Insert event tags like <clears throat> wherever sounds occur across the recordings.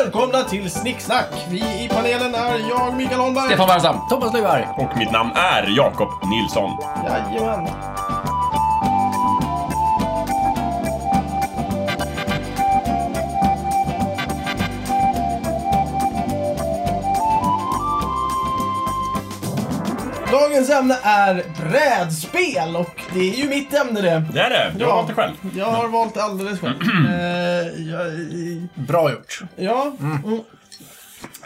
välkomna till Snicksnack! Vi i panelen är jag, Mikael Holmberg. Stefan Wärnstam. Thomas Lyberg. Och mitt namn är Jakob Nilsson. Jajamän. Dagens ämne är brädspel och det är ju mitt ämne det. Det är det. Du har Ja. valt det själv. Jag har valt alldeles <clears throat> själv. Eh, jag, Bra gjort. Ja. Mm.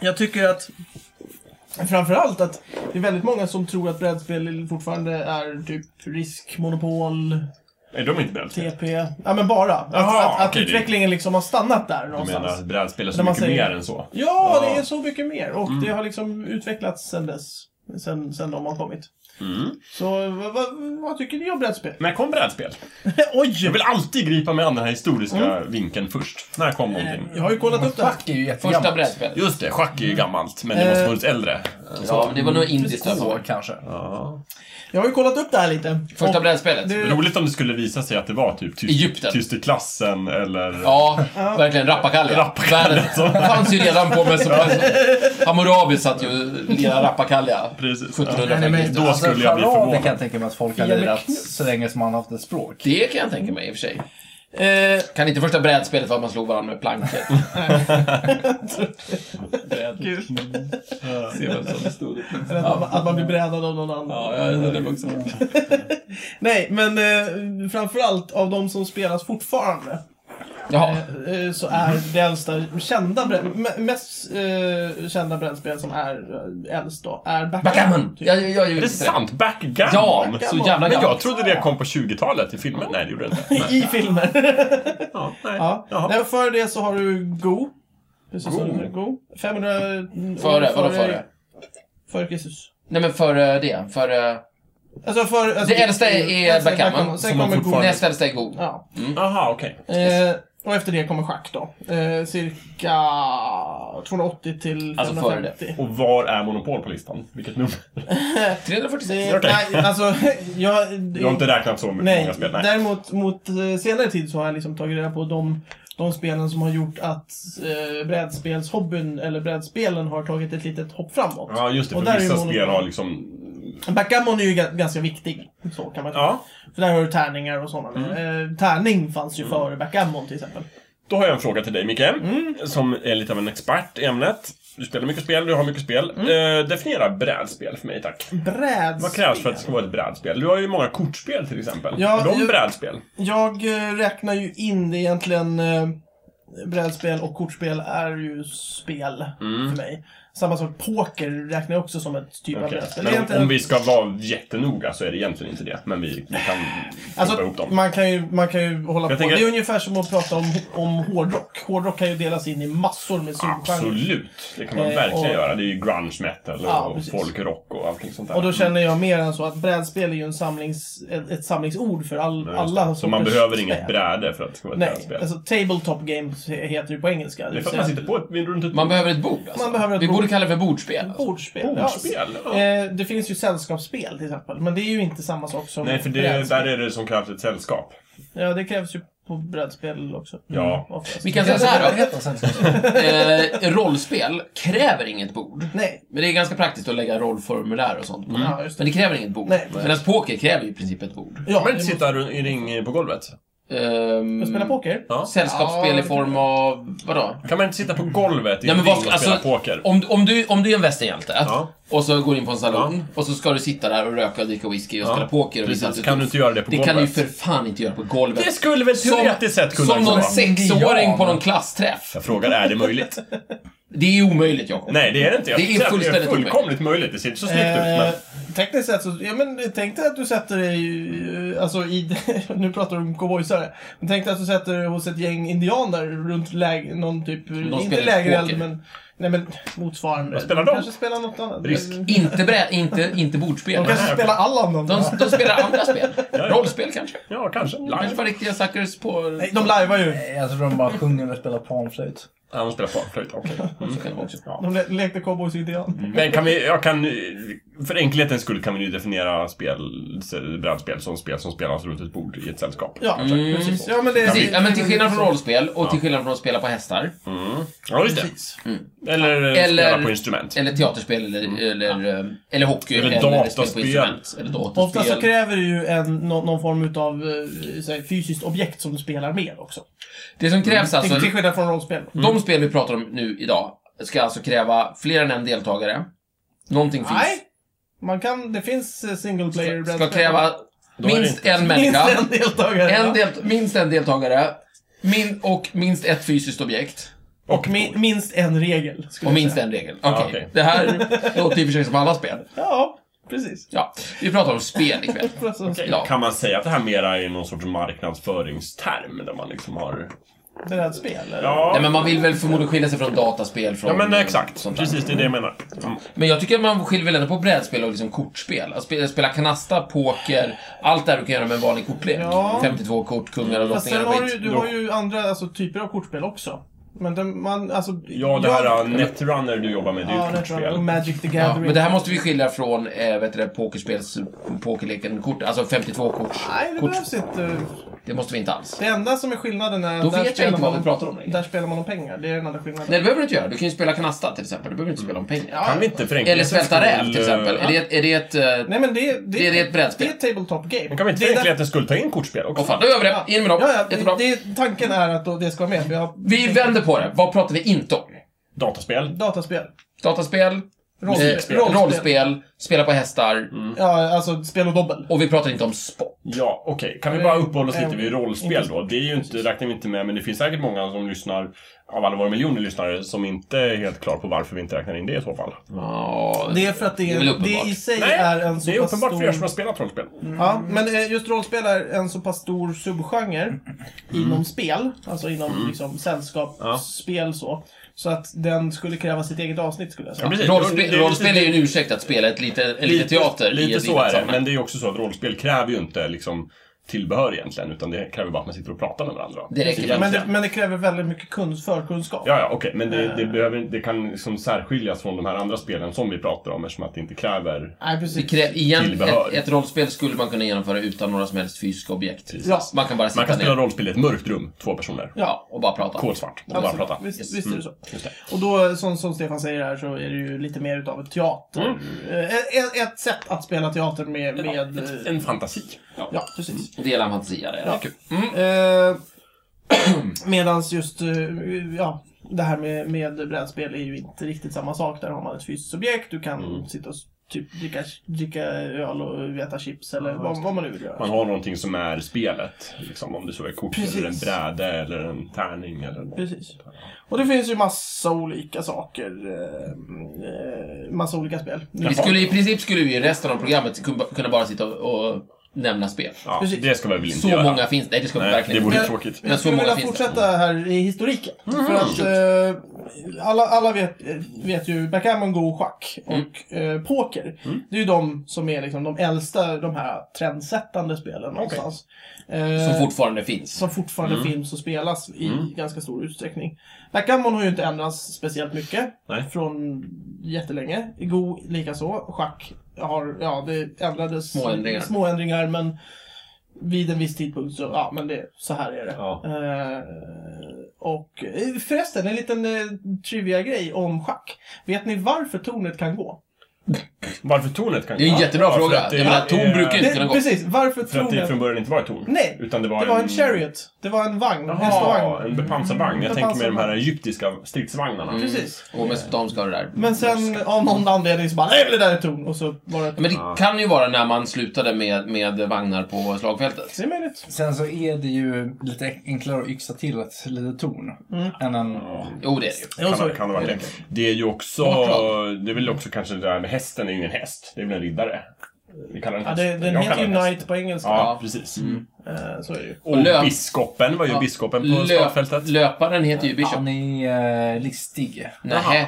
Jag tycker att framförallt att det är väldigt många som tror att brädspel fortfarande är typ riskmonopol, Är de inte brädspel? TP. Ja men bara. Att, Jaha, att, att okej, det- utvecklingen liksom har stannat där Jag någonstans. menar, brädspel är så När man mycket säger- mer än så. Ja, Ja. Mm. det är så mycket mer och det har liksom utvecklats sen dess. Sen, sen de har kommit. Mm. Så vad, vad, vad tycker ni om brädspel? När kom brädspel? <laughs> Oj! Mm. Jag vill alltid gripa mig an den här historiska vinkeln först. När kom någonting? Eh, Jag har ju kollat upp det här. Schack är ju jättegammalt. Första brädspelet. Just det, schack är ju gammalt, men det måste Eh. funnits äldre. Ja, men det var nog indiskt alltså. År kanske. Ja. Jag har ju kollat upp det här lite. Första Och brädspelet. det- Roligt om det skulle visa sig att det var typ tyst, Egypten. tyst i klassen eller... Ja, verkligen. Rappakalle. Rappakalja. Världen fanns ju redan på Mesopotamien. Hammurabi satt ju och lirade rappakalja. Precis. Nej, nej, 1700 men, faktiskt. då alltså, skulle jag bli charader förvånad. kan jag tänka mig att folk har Fia med lirat knuff. så länge som man har haft ett språk. Det kan jag tänka mig i och för sig. Eh, Kan inte första brädspelet vara att man slog varandra med plankor? Bräd. gud. Se vem som stod upp. Eller Mm. att, man, att man blir brädad av någon annan. Ja, jag undrar det också. <laughs> Nej, men eh, framförallt av de som spelas fortfarande Jaha. eh, så är det äldsta kända, brä- me- mest eh, kända brädspel som är eh, äldst då, är Backgammon! typ. Jag, jag, jag, Är det sant? Backgammon? Ja, så Backgammon. jävla Men jag gammalt. trodde det kom på 20-talet i filmen. Nej, det gjorde <laughs> det inte. I <laughs> filmer. Ja, nej. ja. Jaha. Nej, Före det så har du Go. Precis som Go. du Go. 500 år Före, vadå före? Före Kristus. Nej men före det. eh, Före... Alltså för, alltså, Det äldsta är äldsta Backgammon, Sen som man kommer Go. fortfarande- Näst äldsta är god. Ja. Mm. Aha, okej. Eh, och efter det kommer schack då. Eh, cirka 280 till 550. Alltså före det. Och var är Monopol på listan? Vilket nummer? <laughs> 346. Det, Okej. Nej, alltså, <laughs> jag... Jag har inte räknat så mycket nej, många spel. Nej. däremot mot eh, senare tid så har jag liksom tagit reda på de, de spelen som har gjort att eh, brädspelshobbyn, eller brädspelen, har tagit ett litet hopp framåt. Ja, just det. Och För där är vissa ju Monopol. spel har liksom... Backgammon är ju ga- ganska viktig, så kan man säga. Ja. Mm. För där har du tärningar och sådana. Eh, tärning fanns ju före backgammon till exempel. Då har jag en fråga till dig, Micke. Mm. Som är lite av en expert i ämnet. Du spelar mycket spel, du har mycket spel. Mm. Eh, definiera brädspel för mig, tack. Brädspel. Vad krävs för att det ska vara ett brädspel? Du har ju många kortspel till exempel. Ja, är de ju- brädspel? Jag eh, räknar ju in egentligen eh, brädspel och kortspel är ju spel Mm. för mig. Samma sak, poker räknar jag också som ett typ av Okej. brädspel. Men om, Egentligen- om vi ska vara jättenoga så är det egentligen inte det. Men vi, vi kan alltså, ihop Alltså, dem. man kan ju, man kan ju hålla Jag på. tänker- Det är ungefär som att prata om, om hårdrock. Hårdrock kan ju delas in i massor med subgenrer. Absolut, det kan man Eh, verkligen och- göra. Det är ju grunge metal och, Ja, och precis. folkrock och allting sånt där. Och då Mm. känner jag mer än så att brädspel är ju en samlings, ett, ett samlingsord för all, Ja, just det. alla Så man sorters behöver spel. inget bräde för att det ska vara ett Nej, brädspel. alltså tabletop games heter ju på engelska. det är för att vill man säga sitter på ett, runt ett Man behöver ett bord alltså. Man behöver ett Vi bord. borde kalla det för bordspel. Alltså. Bordspel. ja. bordspel. Ja. Eh, det finns ju sällskapsspel till exempel, men det är ju inte samma sak som Nej, för det, brädspel. där är det som krävs ett sällskap. Ja, det krävs ju på brädspel också. Mm, Ja. Oftast. Vi kan säga så här då. då. Eh, rollspel kräver inget bord. Nej. Men det är ganska praktiskt att lägga rollformulär och Mm. sånt. på. Ja, just det. Men det kräver inget bord. Nej. Medan poker kräver ju i princip ett bord. Ja, Men sitta ru- i ring på golvet. Ehm, Jag spelar poker. Ja. Sällskapsspel Ja, i form av... Vadå? Kan man inte sitta på golvet i Nej, men en ring vad, och spela alltså, poker? om, om, du, om du är en västernhjälte Ja. och så går in på en saloon och så ska du sitta där och röka och dricka whisky och Ja. spela poker och visa att Precis, kan du inte göra det på Det golvet? kan du ju för fan inte göra på golvet. Det skulle väl teoretiskt sett kunna Som också någon vara. sexåring på någon klassträff. Jag frågar, är det möjligt? Det är omöjligt, Jakob. Nej, det är det inte. Jag Det är tycker att fullständigt det är fullkomligt möjligt. Det ser inte så snyggt ut, Eh, men... tekniskt sett så, ja men tänk dig att du sätter dig, eh, alltså i, <laughs> nu pratar du om cowboysare. Men tänk dig att du sätter dig hos ett gäng indianer runt läg, någon typ, inte spelar lägereld poker. men, nej men motsvarande. Vad spelar de? Kanske spelar något annat. Risk. Inte, brä, inte, inte bordspel. De kanske spelar Allan de. De, de spelar andra spel. ja. Rollspel kanske. Ja, kanske. Kanske Live. var riktiga suckers på... Nej, de lajvar ju. Jag tror de bara sjunger och spelar panflöjt. <laughs> Ja, de spelar panflöjt. Okej. Mm. kan det vara också. Ja. Mm. De le- lekte cowboys och indian. Men kan vi, jag kan eh, för enkelhetens skull kan vi ju definiera spel, s- brädspel som spel som spelas runt ett bord i ett sällskap. Ja, precis. Ja, men det, Precis, Mm. ja, men till skillnad från rollspel och till skillnad från att spela på hästar. Mm. Ja, just det. Precis. Mm. Eller, eh, Eller- spela på instrument. Eller teaterspel eller, eller, eh, eller hockey. Mm. Eller spel på dataspel. instrument, Eller Ofta så datorspel. kräver det ju en, nå- någon form av fysiskt objekt som du spelar med också. Det som Mm. krävs alltså, Mm. Till, till skillnad från rollspel. de spel vi pratar om nu idag, ska alltså kräva fler än en deltagare. Någonting finns. Nej. Man kan, det finns eh, single player Ska kräva Då är det minst inte- <laughs> en Minst människa. en deltagare. En ja. del, minst en deltagare. Min, och minst ett fysiskt objekt. Och mi- minst en regel. skulle Och jag minst säga. en regel. Okej. Ja, okej. Det här låter i och för sig som alla spel. Ja, precis. Ja, vi pratar om spel ikväll. Alltså, Ja. Kan man säga att det här mera är någon sorts marknadsföringsterm där man liksom har... Brädspel. eller? Ja, Nej, men man vill väl förmodligen skilja sig från dataspel. Från ja men exakt. Sånt där. Precis, det är det jag menar. Mm. Men jag tycker att man skiljer väl ändå på brädspel och liksom kortspel. Att spela, spela kanasta, poker, allt det här du kan göra med en vanlig kortlek. Ja. 52 kort, kungar och Fast drottningar sen och har du, skit. du har ju andra alltså, typer av kortspel också. Men den, man, alltså... Ja, det här eh, Netrunner du jobbar med, det Ja, är ju ett Netrunner och kortspel. Magic the Ja, Gathering. men det här måste vi skilja från eh, vet du, det, pokerspels... Pokerleken, kort, alltså 52 kort. Nej, det kort. behövs inte. Det måste vi inte alls. Det enda som är skillnaden är... Då där vet jag spelar inte vad man- vi pratar om längre. Där spelar man om pengar. Det är den enda skillnaden. Nej, det behöver du inte göra. Du kan ju spela kanasta till exempel. Du behöver inte spela om pengar. Ja. Kan vi inte för Eller enkelhetens svälta räv skull, till exempel. eh, Är det, är det ett... eh, Nej, men det, det, Det är ett brädspel. Det är ett tabletop game. Men kan vi inte Det för är där- enkelhetens skull ta in kortspel också? Åh fan, då gör vi det. Ja. In med dem. Ja, ja, Jättebra. det, det, tanken är att då det ska vara med. Vi har Vi vänder på det. Vad pratar vi inte om? Dataspel. dataspel. Dataspel, Rollspel. eh, rollspel, spela på hästar. Ja, alltså spel och dobbel. Och vi pratar inte om sport. Ja, okej. Kan vi Ja, bara det är- uppehålla oss lite vid eh, rollspel då? Det är ju inte, räknar vi inte med, men det finns säkert många som lyssnar, av alla våra miljoner lyssnare, som inte är helt klar på varför vi inte räknar in det i så fall. Ja, Det är för att det, Det är är väl det uppenbart. i sig Nej, är en så Det är pass uppenbart för er som stor... har spelat rollspel. Ja, men eh, just rollspel är en så pass stor subgenre inom spel, alltså inom Mm. liksom, sällskapsspel så. Så att den skulle kräva sitt eget avsnitt skulle jag säga. precis. Det- rollspel, det- rollspel är ju en ursäkt att spela ett lite, en lite teater i Lite ett så är det. sammanhang. Men det är ju också så att rollspel kräver ju inte liksom tillbehör egentligen, utan det kräver bara att man sitter och pratar med varandra. Det räcker Egentligen. Men det, men det kräver väldigt mycket kunsk- förkunskap. Ja, ja, okej. Men det, Eh. det, behöver, det kan liksom särskiljas från de här andra spelen som vi pratar om eftersom att det inte kräver... Nej, Det precis. krä- igen, Tillbehör. ett, ett rollspel skulle man kunna genomföra utan några som helst fysiska objekt. Ja. Man kan bara sitta Man kan spela ner rollspel i ett mörkt rum, två personer. Ja. och bara prata. Kolsvart. Och bara Absolut. prata. Mm. Visst, visst är det så. Just det. Och då, eh, som, som Stefan säger här, så är det ju lite mer utav ett teater. Eh, Ett, ett sätt att spela teater med... med Ett- eh, Mm. En fantasi. Ja. ja precis. Dela en fantasi, ja, det är Ja. kul. Mm, Eh, <clears throat> Medan just eh, ja, det här med, med brädspel är ju inte riktigt samma sak. Där har man ett fysiskt objekt. Du kan Mm. sitta och s- typ dricka, dricka öl och äta chips eller vad, vad man nu vill göra. Man har någonting som är spelet. Liksom, om det så är kort Precis. eller en bräde eller en tärning eller något. Precis. Och det finns ju massa olika saker. eh, eh, Massa olika spel. Vi skulle, I princip skulle vi i resten av programmet kun- kunna bara sitta och, och nämna spel. Ja, Precis. det ska vi väl inte Så göra. många finns det. Nej, det ska vi Nej, det verkligen vore Men- tråkigt. Men Jag så skulle många vilja finns Mm. det. fortsätta här i historiken. För att eh, alla, alla vet, eh, vet ju backgammon, go, schack Mm. och eh, poker. Det är ju de som är liksom de äldsta, de här trendsättande spelen någonstans. Eh, Som fortfarande finns. som fortfarande Mm. finns och spelas i ganska stor utsträckning. Backgammon har ju inte ändrats speciellt mycket Nej. från jättelänge. Go likaså. Schack har, ja det ändrades Små ändringar. små ändringar, men vid en viss tidpunkt så, ja men det, så här är det. Ja. Eh, och eh, förresten, en liten eh, trivia-grej om schack. Vet ni varför tornet kan gå? Varför tornet kan Det är en Ja, jättebra för fråga. att det Jag menar, torn är- brukar ju- Det, kan gå. precis, varför För att det tornet... från början inte var ett torn. Nej, Utan det var Det var en chariot. Det var en vagn, en Jaha, hästvagn. Mm. en bepansad vagn. Jag tänker med de här Bepansad egyptiska stridsvagnarna. Precis. Och mesopotamska har det där. Eh, Men sen av någon anledning så bara, nej men det där är torn. Och så var det ett... Ja, Men det kan ju vara när man slutade med, med vagnar på slagfältet. Det är möjligt. Sen så är det ju lite enklare att yxa till ett litet torn. Mm. Än en... Jo, det är det ju. Jo, så är Kan, det. kan det vara det. Det är ju också... Bakgrad. Det är väl också kanske det där med hästen är ju ingen häst. Det är väl en riddare. Vi kallar den Ja, häst. det, den Jag heter ju kallar häst. Knight på engelska. Ja, precis. Eh, Så är det ju. Och, löp- biskopen var ju Mm. Ja. biskopen på Löp- slagfältet. löparen heter ju Bishop. Han är eh, listig. Nähä.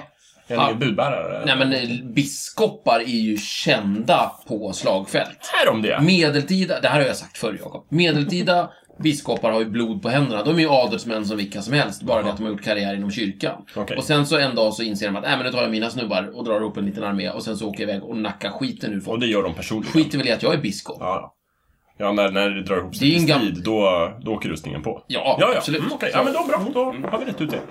Eller är Ja. ju budbärare. Nej, men eh, biskopar är ju kända på slagfält. Är de det? <laughs> Medeltida, det här har jag sagt förr Jakob, medeltida biskopar har ju blod på händerna. De är ju adelsmän som vilka som helst, bara det att de har gjort karriär inom kyrkan. Okej. Och sen så en dag så inser de att, nej men nu tar jag mina snubbar och drar ihop en liten armé och sen så åker jag iväg och nackar skiten ur Och folk. det gör de personligen. Skiter väl i att jag är biskop. Ja, ja. Ja, när, när det drar ihop Det är sig ju en till gam- strid, då, då åker rustningen på. Ja, ja, ja. absolut. Mm. Mm, okej. Ja, men då bra. Då har vi rätt ut det. Eh,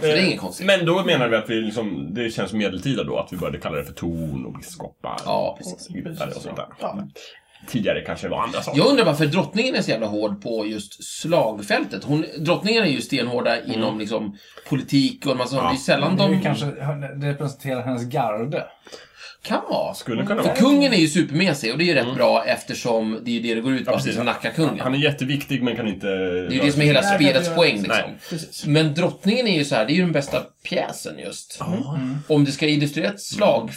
det är inget konstigt. Men då menar vi att vi liksom, det känns medeltida då, att vi började kalla det för torn och biskopar. Ja, och precis. riddare och sånt där. Ja. Tidigare kanske det var andra saker. Jag undrar varför drottningen är så jävla hård på just slagfältet. Hon, drottningen är ju stenhårda Mm. inom liksom, politik och en massa sånt. Det är ju sällan Det är de... ju kanske det representerar hennes garde. Kan vara. Skulle kunna För vara. Mm. kungen är ju supermesig och det är ju rätt bra eftersom det är ju det det går ut på, Ja, att precis. liksom nacka kungen. Han är jätteviktig men kan inte... Det är ju det som är hela Nej, det spelets gör- poäng liksom. Nej. Precis. Men drottningen är ju så här, det är ju den bästa pjäsen just. Om det ska illustrera ett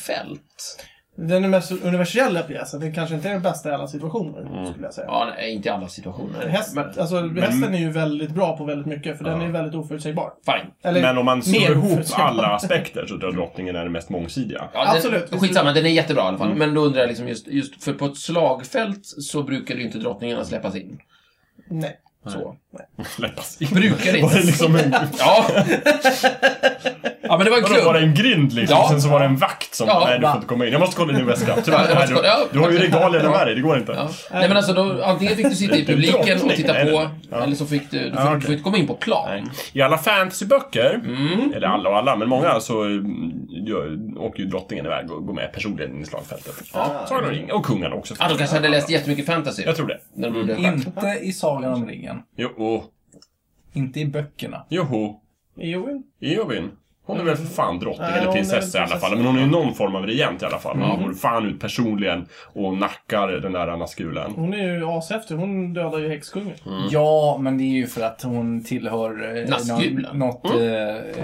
slagfält. Den mest universella pjäsen, den kanske inte är den bästa i alla situationer, Mm. skulle jag säga. Ja, nej, inte i alla situationer. Häst, Men, alltså, hästen är ju väldigt bra på väldigt mycket, för den är väldigt oförutsägbar. fine. Eller, Men om man slår mer ihop oförutsägbar. alla aspekter så tror jag drottningen är den mest mångsidiga. Ja, den, Absolut. Skitsamma, den är jättebra i alla fall. Men då undrar jag liksom just, just, för på ett slagfält så brukar ju inte drottningarna släppas in. Nej. Så. Släppas in. Brukar <laughs> inte. Var det liksom en... Ja. <laughs> ja, men det var en Vadå, var det klubb. en grind liksom? Ja. Sen så var det en vakt som... Ja, nej, du va? får inte komma in. Jag måste kolla din <laughs> väska. Tyvärr. Jag Nej, måste du, kolla- ja. du har ju regalierna med dig, det går inte. Ja. Nej men alltså, då, antingen fick du <laughs> sitta i publiken och titta på, eller så fick du, du, fick, Ja, okej. du får inte komma in på plan. I alla fantasyböcker, Mm. eller alla och alla, men många, så mm, gör, åker ju drottningen iväg och går med personligen in i slagfältet. Ja. Sagan om ringen. Och kungarna också. Ja, de kanske hade läst jättemycket fantasy. Jag tror det. När de gjorde det. Inte i Sagan om ringen. Jo, oh, Inte i böckerna. joho, Eowyn? Eowyn. Hon är väl för fan drottning, Nej, eller hon är väl prinsessa i alla fall. prinsessa. Men hon är ju någon form av regent i alla fall. Mm. Hon går fan ut personligen och nackar den där naskulen. Hon är ju ashäftig. Hon dödar ju häxkungen. Mm. Mm. Ja, men det är ju för att hon tillhör eh, Nassgulan. nå- något... Eh,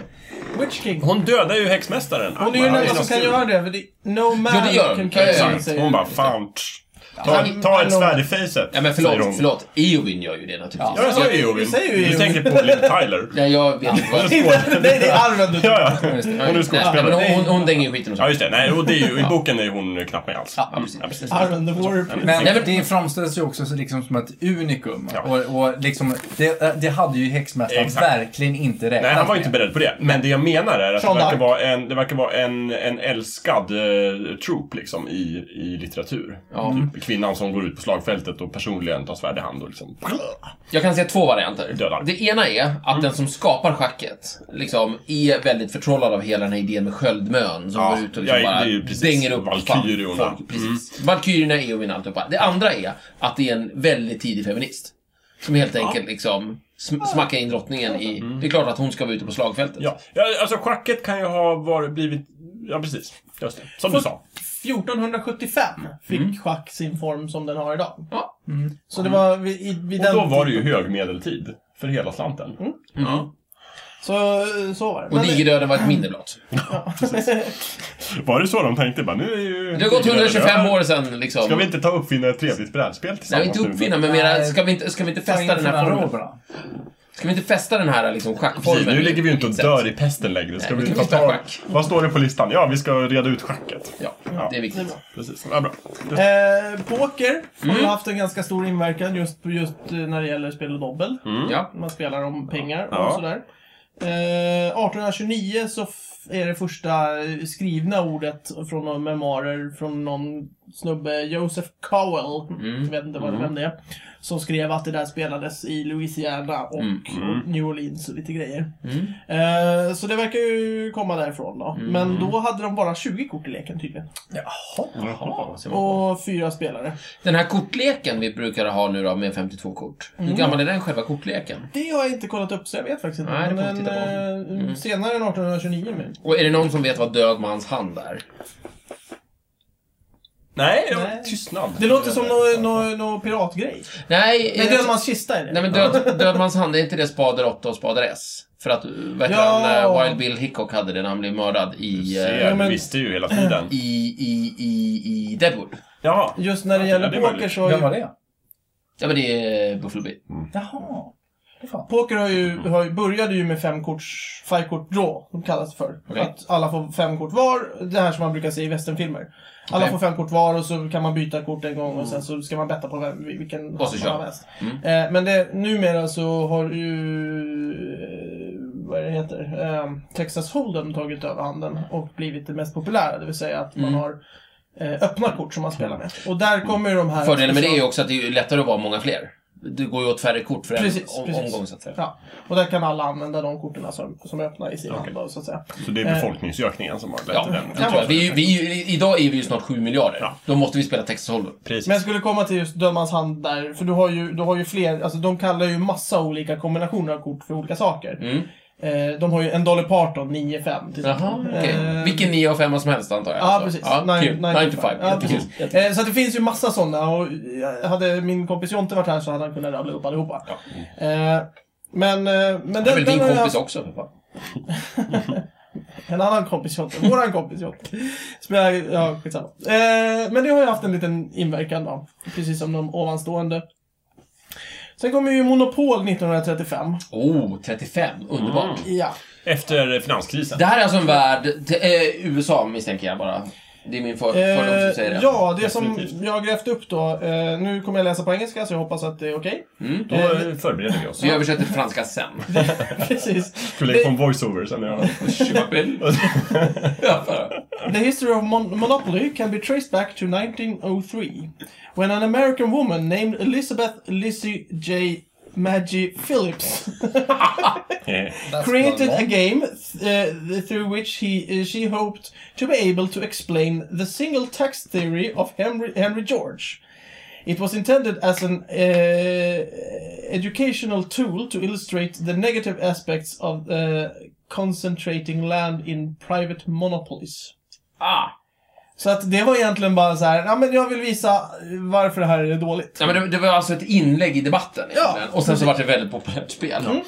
Witch King. Hon dödar ju häxmästaren. Hon är ju den enda som kan göra det. För det no man Ja, det gör hon. can Ja, ja, kill ja. me, Exakt. säger Hon bara, fan. tsch. Ta, ta ett svärd i fejset, Ja, men säger hon. förlåt, förlåt. Eowyn gör ju det naturligtvis. Ja, jag sa ju Eowyn. Vi säger ju Du Eowyn. tänker på Liv Tyler. Ja, jag vet inte vad... <laughs> Nej, det är arven du tar. Ja, ja. Hon är Nej, men skådespelare. hon, hon, hon dänger skiten och Ja, så. just det. Nej, och det är ju, i boken är hon knappt med alls. Ja, precis. precis. Arven the warrior men, Nej, men- det framställs ju också så liksom som ett unikum. Ja. Och, och liksom, det, det hade ju häxmästaren Exakt. verkligen inte räknat Nej, han var ju med. inte beredd på det. Men det jag menar är att det Jean verkar d'Arc. vara en, det verkar vara en, en älskad eh, troop liksom i, i litteratur. Typ kvinnan som går ut på slagfältet och personligen tar svärd i hand och liksom... Jag kan se två varianter. Dödar. Mm. Det ena är att den som skapar schacket liksom, är väldigt förtrollad av hela den här idén med sköldmön som Ja, går ut och liksom ja, bara det är ju precis. Mm. dänger upp Valkyriorna. fan, folk. Precis. Valkyrierna, Eowyn och alltihopa. Det andra är att det är en väldigt tidig feminist. Som helt enkelt liksom sm- smackar in drottningen i... Det är klart att hon ska vara ute på slagfältet. Mm. Ja, ja alltså schacket kan ju ha varit, blivit... Ja, precis. Just det. Som du sa. Mm. 1475 fick schack sin form som den har idag. Ja. Så det var vid, i- vid Och den Mm. då var det ju högmedeltid. För hela slanten. Så, så var det. Och digerdöden var ett minderblad. Mm. <laughs> Var det så de tänkte? Bara, nu är ju... Det har gått 125 år sedan liksom. Ska vi inte ta och uppfinna ett trevligt brädspel Nej, tillsammans? inte nu? uppfinna, men mera, ska vi inte, ska vi inte Ta in fästa den här från formen? araberna. Ska vi inte fästa den här liksom, schackformen? Precis, nu ligger vi ju inte och Sätt. dör i pesten längre. Ska Nej, vi vi ta kan spela tag... schack. Vad står det på listan? Ja, vi ska reda ut schacket. Ja, det är viktigt. Mm. Precis, ja, bra. Det- Eh, poker har Mm. ju haft en ganska stor inverkan just, just eh, när det gäller spel och dobbel. Mm. Ja. Man spelar om pengar och Ja. sådär. Eh, 1829 så f- är det första eh, skrivna ordet från några memoarer från någon snubbe, Joseph Cowell, Mm. jag vet inte vad det vem det är, som skrev att det där spelades i Louisiana och Mm. och New Orleans och lite grejer. Eh, så det verkar ju komma därifrån då. Mm. Men då hade de bara 20 kort i leken tydligen. Mm. Jaha. ser man. Och fyra spelare. Den här kortleken vi brukar ha nu då med 52 kort. Hur Mm. gammal är den själva kortleken? Det har jag inte kollat upp så jag vet faktiskt inte. Nej, det får vi men titta på. Mm. eh, senare än 1829 men. Och är det någon som vet vad död mans hand är? Nej, det var Nej. tystnad. Det låter som någon nå, nå piratgrej. Nej, Nej, eh, Dödmans kista är det. nej men <laughs> död, död mans hand, är inte det spader 8 och spader S? För att, vet Ja. han, eh, Wild Bill Hickok hade det när han blev mördad i, eh, Se, Ja, Du men- visste ju hela tiden. i, i, i, i Deadwood. Jaha. Just när det Ja, gäller det är poker möjligt. så... Vem var det? Ja, men det är Buffalo Bill. Jaha. fan. Poker har ju, Mm. har ju, började ju med femkorts, five-kort draw, som det kallas för. Okej. Att alla får fem kort var, det här som man brukar se i westernfilmer. Alla Okej. får fem kort var och så kan man byta kort en gång och sen så ska man betta på vem, vilken Och så hand man kör. Mm. har mest. Eh, men det, numera så har ju, eh, vad är det heter, eh, Texas Hold'em tagit över handen och blivit det mest populära. Det vill säga att Mm. man har eh, öppna kort som man spelar med. Och där kommer ju de här... Fördelen med det är ju också att det är ju lättare att vara många fler. Det går ju åt färre kort för en Precis, om, precis. omgång, så att säga. Ja, och där kan alla använda de korten som, som är öppna i sin hand då, så att säga. Så det är befolkningsökningen som har lett Ja, till den. det tror jag. Vi, är ju- vi, är ju- idag är vi ju snart 7 miljarder. Ja. Då måste vi spela Texas Hold'em. Precis. Men jag skulle komma till just dömans hand där, för du har ju, du har ju fler, alltså de kallar ju massa olika kombinationer av kort för olika saker. Eh, de har ju en Dolly Parton 9-5 till Mm. Jaha, okej. Eh, Vilken 9 av 5 som helst antar jag. Ja, alltså. precis. Ja, Nine- kul. nine to 9 to 5. five. Ja, precis. Eh, så att det finns ju massa sådana och eh, hade min kompis Jonte varit här så hade han kunnat rabbla upp allihopa. Eh, men, eh, men den, Det är väl din har jag kompis haft- också för fan. En annan kompis Jonte, våran kompis Jonte. Som jag, ja, skitsamma. Eh, men det har ju haft en liten inverkan då. Precis som de ovanstående. Sen kommer ju Monopol 1935. Oh, 35. Underbart. Ja. Efter finanskrisen. Det här är alltså en värld, te- eh, USA misstänker jag bara. Det är min för, fördom som säger det. Eh, ja, det som Definitivt. jag har grävt upp då. Eh, nu kommer jag läsa på engelska så jag hoppas att det är okej. Då Eh, förbereder vi oss. Vi översätter till <laughs> franska sen. Precis. Skulle lägga på en voiceover sen. Ja. <laughs> Ja, för- The history of mon- Monopoly can be traced back to 1903, when an American woman named Elizabeth Lizzie J. Maggie Phillips Eh, That's created not a long. game uh, through which he uh, she hoped to be able to explain the single tax theory of Henry, Henry George. It was intended as an uh, educational tool to illustrate the negative aspects of uh, concentrating land in private monopolies. ah. Så att det var egentligen bara så här, ja men jag vill visa varför det här är dåligt. Nej, men det, det var alltså ett inlägg i debatten egentligen. Och sen så var det ett väldigt populärt spel. Mm.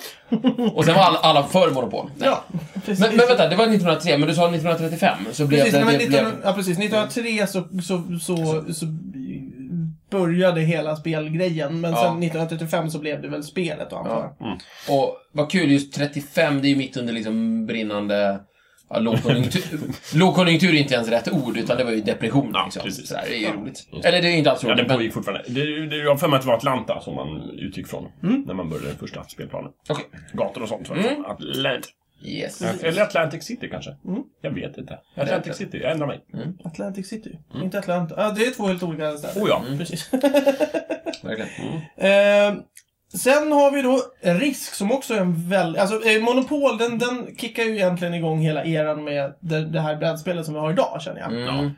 Och sen var alla, alla för Monopol. Nej. Ja, precis. Men, men vänta, det var 1903, men du sa 1935. Så blev Precis, nej, det... men det 19, blev... Mm. ja, precis. 1903 så, så, så, så började hela spelgrejen. Men Ja. Mm. sen 1935 så blev det väl spelet då, antar jag. Och vad kul, just 35, det är ju mitt under liksom brinnande... Ja, lågkonjunktur. lågkonjunktur är inte ens rätt ord, utan det var ju depression. Ja, liksom. precis. Så där, det är ju roligt. Eller det är ju inte alls Ja, roligt, den men... pågick fortfarande. Det, det, jag har för mig att det var Atlanta som man utgick från när man började den första spelplanen. Okej. Gator och sånt. var det från. Atlant Yes. Eller Atlantic City kanske? Jag vet inte. Atlantic City, jag ändrar mig. Atlantic City. Mm. Inte Atlanta. Ja, det är två helt olika städer. Oh ja. Precis. <laughs> Verkligen. Mm. Ehm, sen har vi då Risk som också är en väldigt... Alltså eh, Monopol, den, den kickar ju egentligen igång hela eran med det, det här brädspelet som vi har idag, känner jag. Mm. Eh,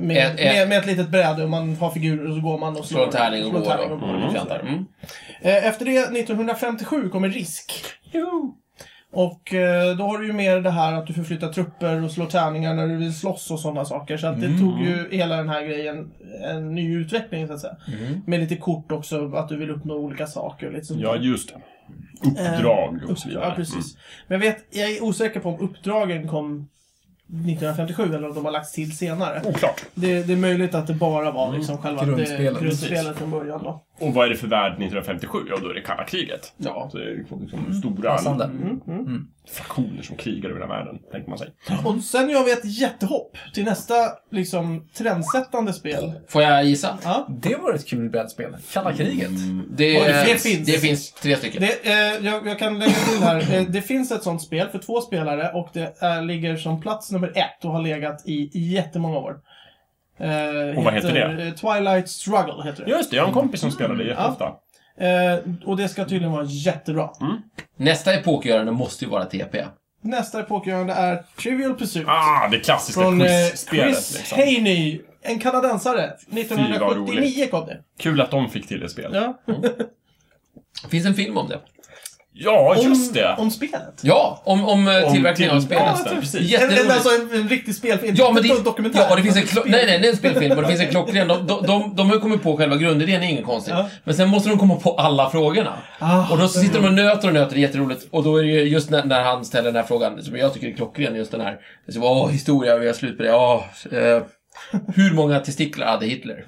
med, Ett- ett- med, med ett litet bräde och man har figurer och så går man och slår, Slå en tärning och gå slår en tärning då. och går. Mm. Fjantar. Mm. Eh, Efter det, 1957, kommer Risk. Och eh, då har du ju mer det här att du förflyttar trupper och slår tärningar när du vill slåss och sådana saker. Så att Mm. det tog ju hela den här grejen en ny utveckling så att säga. Med lite kort också, att du vill uppnå olika saker. och Lite sånt. Mm. Ja, just det. Uppdrag och så vidare. Mm. Ja, precis. Men jag, vet, jag är osäker på om uppdragen kom 1957 eller om de har lagts till senare. Mm. Oklart. Det, det är möjligt att det bara var liksom själva det- Grundspelet. grundspelet från början då. Och vad är det för värld 1957? Ja, då är det kalla kriget. Ja. Så det är liksom, liksom stora Passande. fraktioner som krigar över hela världen, tänker man sig. Och sen gör vi ett jättehopp till nästa liksom trendsättande spel. Får jag gissa? Ja. Det var ett kul brädspel. Kalla Mm. kriget. Det, Oj, det finns. det finns tre stycken. Det, eh, jag, jag kan lägga till här. Eh, det finns ett sånt spel för två spelare och det är, ligger som plats nummer ett och har legat i jättemånga år. Eh, Och vad heter eh, Twilight Struggle heter det. Just det, jag har en kompis som spelade det jätteofta. Eh, och det ska tydligen vara jättebra. Nästa epokgörande måste ju vara TP. Nästa epokgörande är Trivial Pursuit. Ah, det klassiska från eh, quizspelet. Chris liksom. Haney. En kanadensare. vad roligt. 1979 kom det. Kul att de fick till det spelet. Ja. Finns en film om det? Ja, Om, just det! om spelet. Ja, om, om, eh, Om tillverkningen av till- Ja, spelet. nästan, typ. precis. En, en, Jätteroligt. alltså en, en riktig spelfilm. Ja, men det, Inte en dokumentär. ja, och det finns en klo- Spel- nej, nej, det är en spelfilm och det finns en klockren. De, de, de, de har ju kommit på själva grundidén, det är inget konstigt. Ja. Men sen måste de komma på alla frågorna. Ah. och då sitter de och nöter och nöter, det är jätteroligt. Och då är det ju just när, när han ställer den här frågan, som jag tycker är klockren, just den här. Så, bara, åh, historia, vi har slut på det. Åh, eh, hur många testiklar hade Hitler?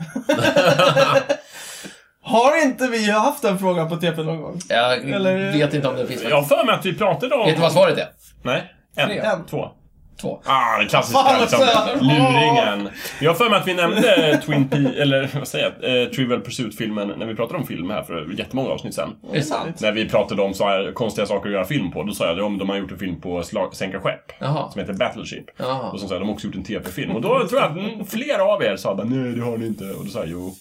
Har inte vi haft den frågan på TP någon gång? Jag Eller- vet inte om det finns Jag har för mig att vi pratade om... Vet du vad svaret är? Nej. En. Tre. En. Två. Två. Ah, Fan, den klassiska liksom, alltså. luringen. Jag har för mig att vi nämnde Twin Peaks, eller vad säger jag, eh, Trivial Pursuit-filmen när vi pratade om film här för jättemånga avsnitt sen. Är det sant? När vi pratade om så här, konstiga saker att göra film på, då sa jag att de har gjort en film på slag, sänka skepp. Jaha. Som heter Battleship. Jaha. Och som sa jag, de har också gjort en TV-film. Och då tror jag att mm, flera av er sa bara, nej det har ni inte. Och då sa jag jo.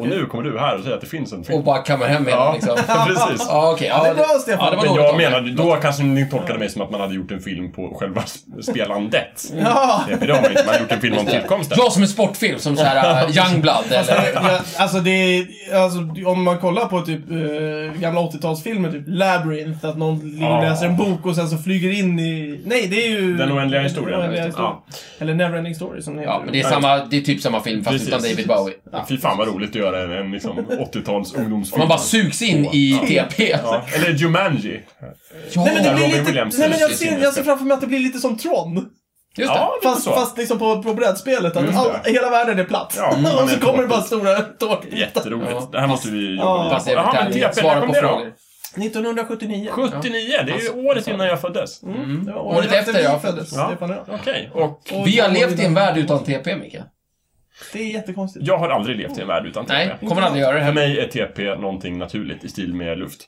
Och nu kommer du här och säger att det finns en film. Och bara kammar hem med <laughs> Ja, den liksom. precis. Ja, okej. Ja, det Ja, är bra, Stefan. Ja, det var Men dåligt jag av mig. menade, då kanske ni tolkade mig som att man hade gjort en film på själva spelandet. <laughs> Ja! Det har man inte, man har gjort en film om tillkomsten. Ja, som en sportfilm, som såhär uh, <laughs> Youngblood eller... Ja, alltså det är, alltså, om man kollar på typ eh, gamla 80-talsfilmer, typ Labyrinth, att någon ligger och Ja. läser en bok och sen så flyger in i... Nej, det är ju... Den oändliga historien. Den oändliga Ja. historien. Eller Neverending Story som den heter. Ja, men det är, samma, det är typ samma film fast Precis. utan David Bowie. Fy fan vad roligt att göra en, en liksom 80-tals ungdomsfilm. Man bara sugs in i Alltså, TP. ja. Eller Jumanji. Nej men det Ja, blir Robin lite... Williams nej men jag i ser, sin- jag ser framför mig att det blir lite som Tron. Just det. Ja, lite Fast, så. fast liksom på, på brädspelet. Att Just all, det. hela världen är platt. Ja, man <laughs> och är så en kommer det bara tårta. stora tårtbitar. Jätteroligt. Ja. Det här måste vi jobba Ja. vidare Fast på. jag Jaha, är men förtärlig. TP, när Svara kom på det då? frågor. 1979. 79, det är ju Alltså, året innan jag föddes. Mm. Det var Året efter, ja. vi föddes, Ja. Stefan och jag. Okej, och Och Vi har då- levt i en värld utan TP, Micke. Det är jättekonstigt. jag har aldrig levt i en värld utan TP. Nej, kommer aldrig göra det För här. mig är TP någonting naturligt i stil med luft.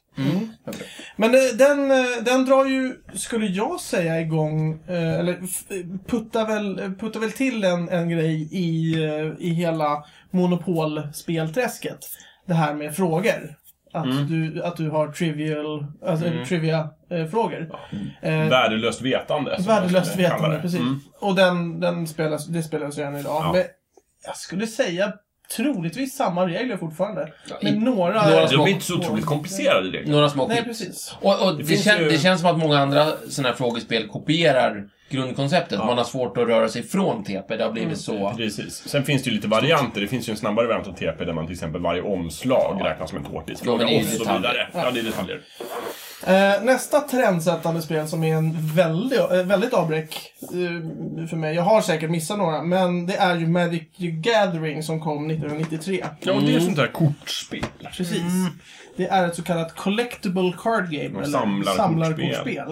Men eh, den, eh, den drar ju, skulle jag säga, igång, eh, eller f- puttar väl, eh, puttar väl till en, en grej i, eh, i hela monopolspelträsket. Det här med frågor. Att, du, att du har trivial, alltså trivia-frågor. Eh, Värdelöst vetande. som jag Mm. Värdelöst skulle kalla vetande, det. precis. Mm. Och den, den spelas, det spelas ju än idag. Ja. Men jag skulle säga troligtvis samma regler fortfarande. Ja, i- Med några... några De är inte så otroligt komplicerade regler. Några små Nej, skit. precis. Och, och Det det, finns kän, ju- det känns som att många andra sådana här frågespel kopierar grundkonceptet. Man har svårt att röra sig från TP. Det har blivit så... Mm. Precis. Sen finns det ju lite varianter. Det finns ju en snabbare variant av TP där man till exempel varje omslag räknas som en tårtisfråga Ja, men det är och ju så detaljer. vidare. Ja, det är detaljer. Eh, nästa trendsättande spel som är en väldigt, eh, väldigt avbräck eh, för mig. Jag har säkert missat några, men det är ju Magic the Gathering som kom 1993. Ja, och det är sånt där kortspel. Precis. Mm. Det är ett så kallat collectible card game. Eller samlarkortspel. samlarkortspel.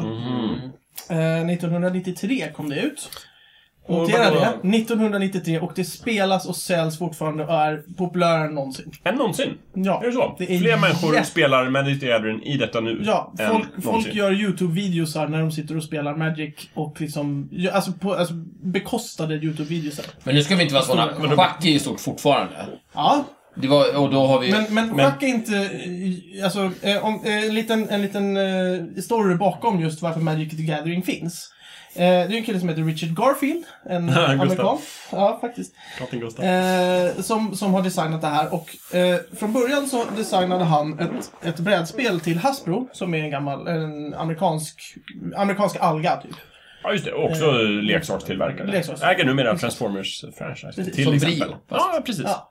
Eh, 1993 kom det ut. Mm. Och Notera vadå? det. 1993 och det spelas och säljs fortfarande och är populärare än någonsin. Än någonsin. Ja, Är det så? det är Fler människor jätte- spelar Magic the Gathering i detta nu Ja, än folk, folk någonsin. gör YouTube-videosar när de sitter och spelar Magic och liksom, ja, alltså, på, alltså bekostade YouTube-videosar. Men nu ska vi inte vara såna. Schack är ju stort fortfarande. Ja, Det var, och då har vi... men, men schack är inte, eh, alltså, eh, om, eh, en liten, en liten eh, story bakom just varför Magic the Gathering finns. Eh, det är ju en kille som heter Richard Garfield, <laughs> en Gustav. amerikan. Ja, faktiskt. Katten Gustav. Eh, som, som har designat det här. Och eh, från början så designade han ett, ett brädspel till Hasbro, som är en gammal, en amerikansk, amerikansk alga typ. Ja, just det. Och också Eh, leksakstillverkare. leksaks- Äger numera Transformers-franchisen. Precis. Till Som exempel. Brio, fast- Ja, precis. Ja.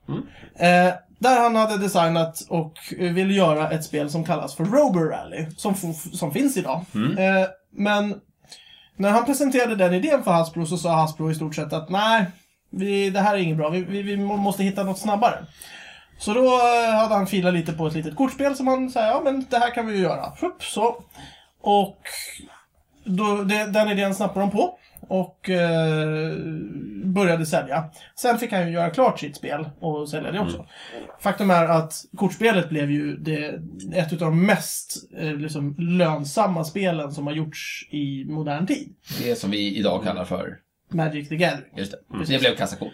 Eh, där han hade designat och eh, ville göra ett spel som kallas för Robo Rally, som, f- som finns idag. Eh, men när han presenterade den idén för Hasbro så sa Hasbro i stort sett att nej, vi, det här är inget bra, vi, vi, vi må- måste hitta något snabbare. Så då eh, hade han filat lite på ett litet kortspel som han sa, ja men det här kan vi ju göra. Hupp, så. Och då, det, den idén snappade de på och eh, började sälja. Sen fick han ju göra klart sitt spel och sälja det också. Faktum är att kortspelet blev ju det, ett av de mest eh, liksom, lönsamma spelen som har gjorts i modern tid. Det som vi idag kallar för... Magic the Gathering. Just det. Mm. Det blev kassakon.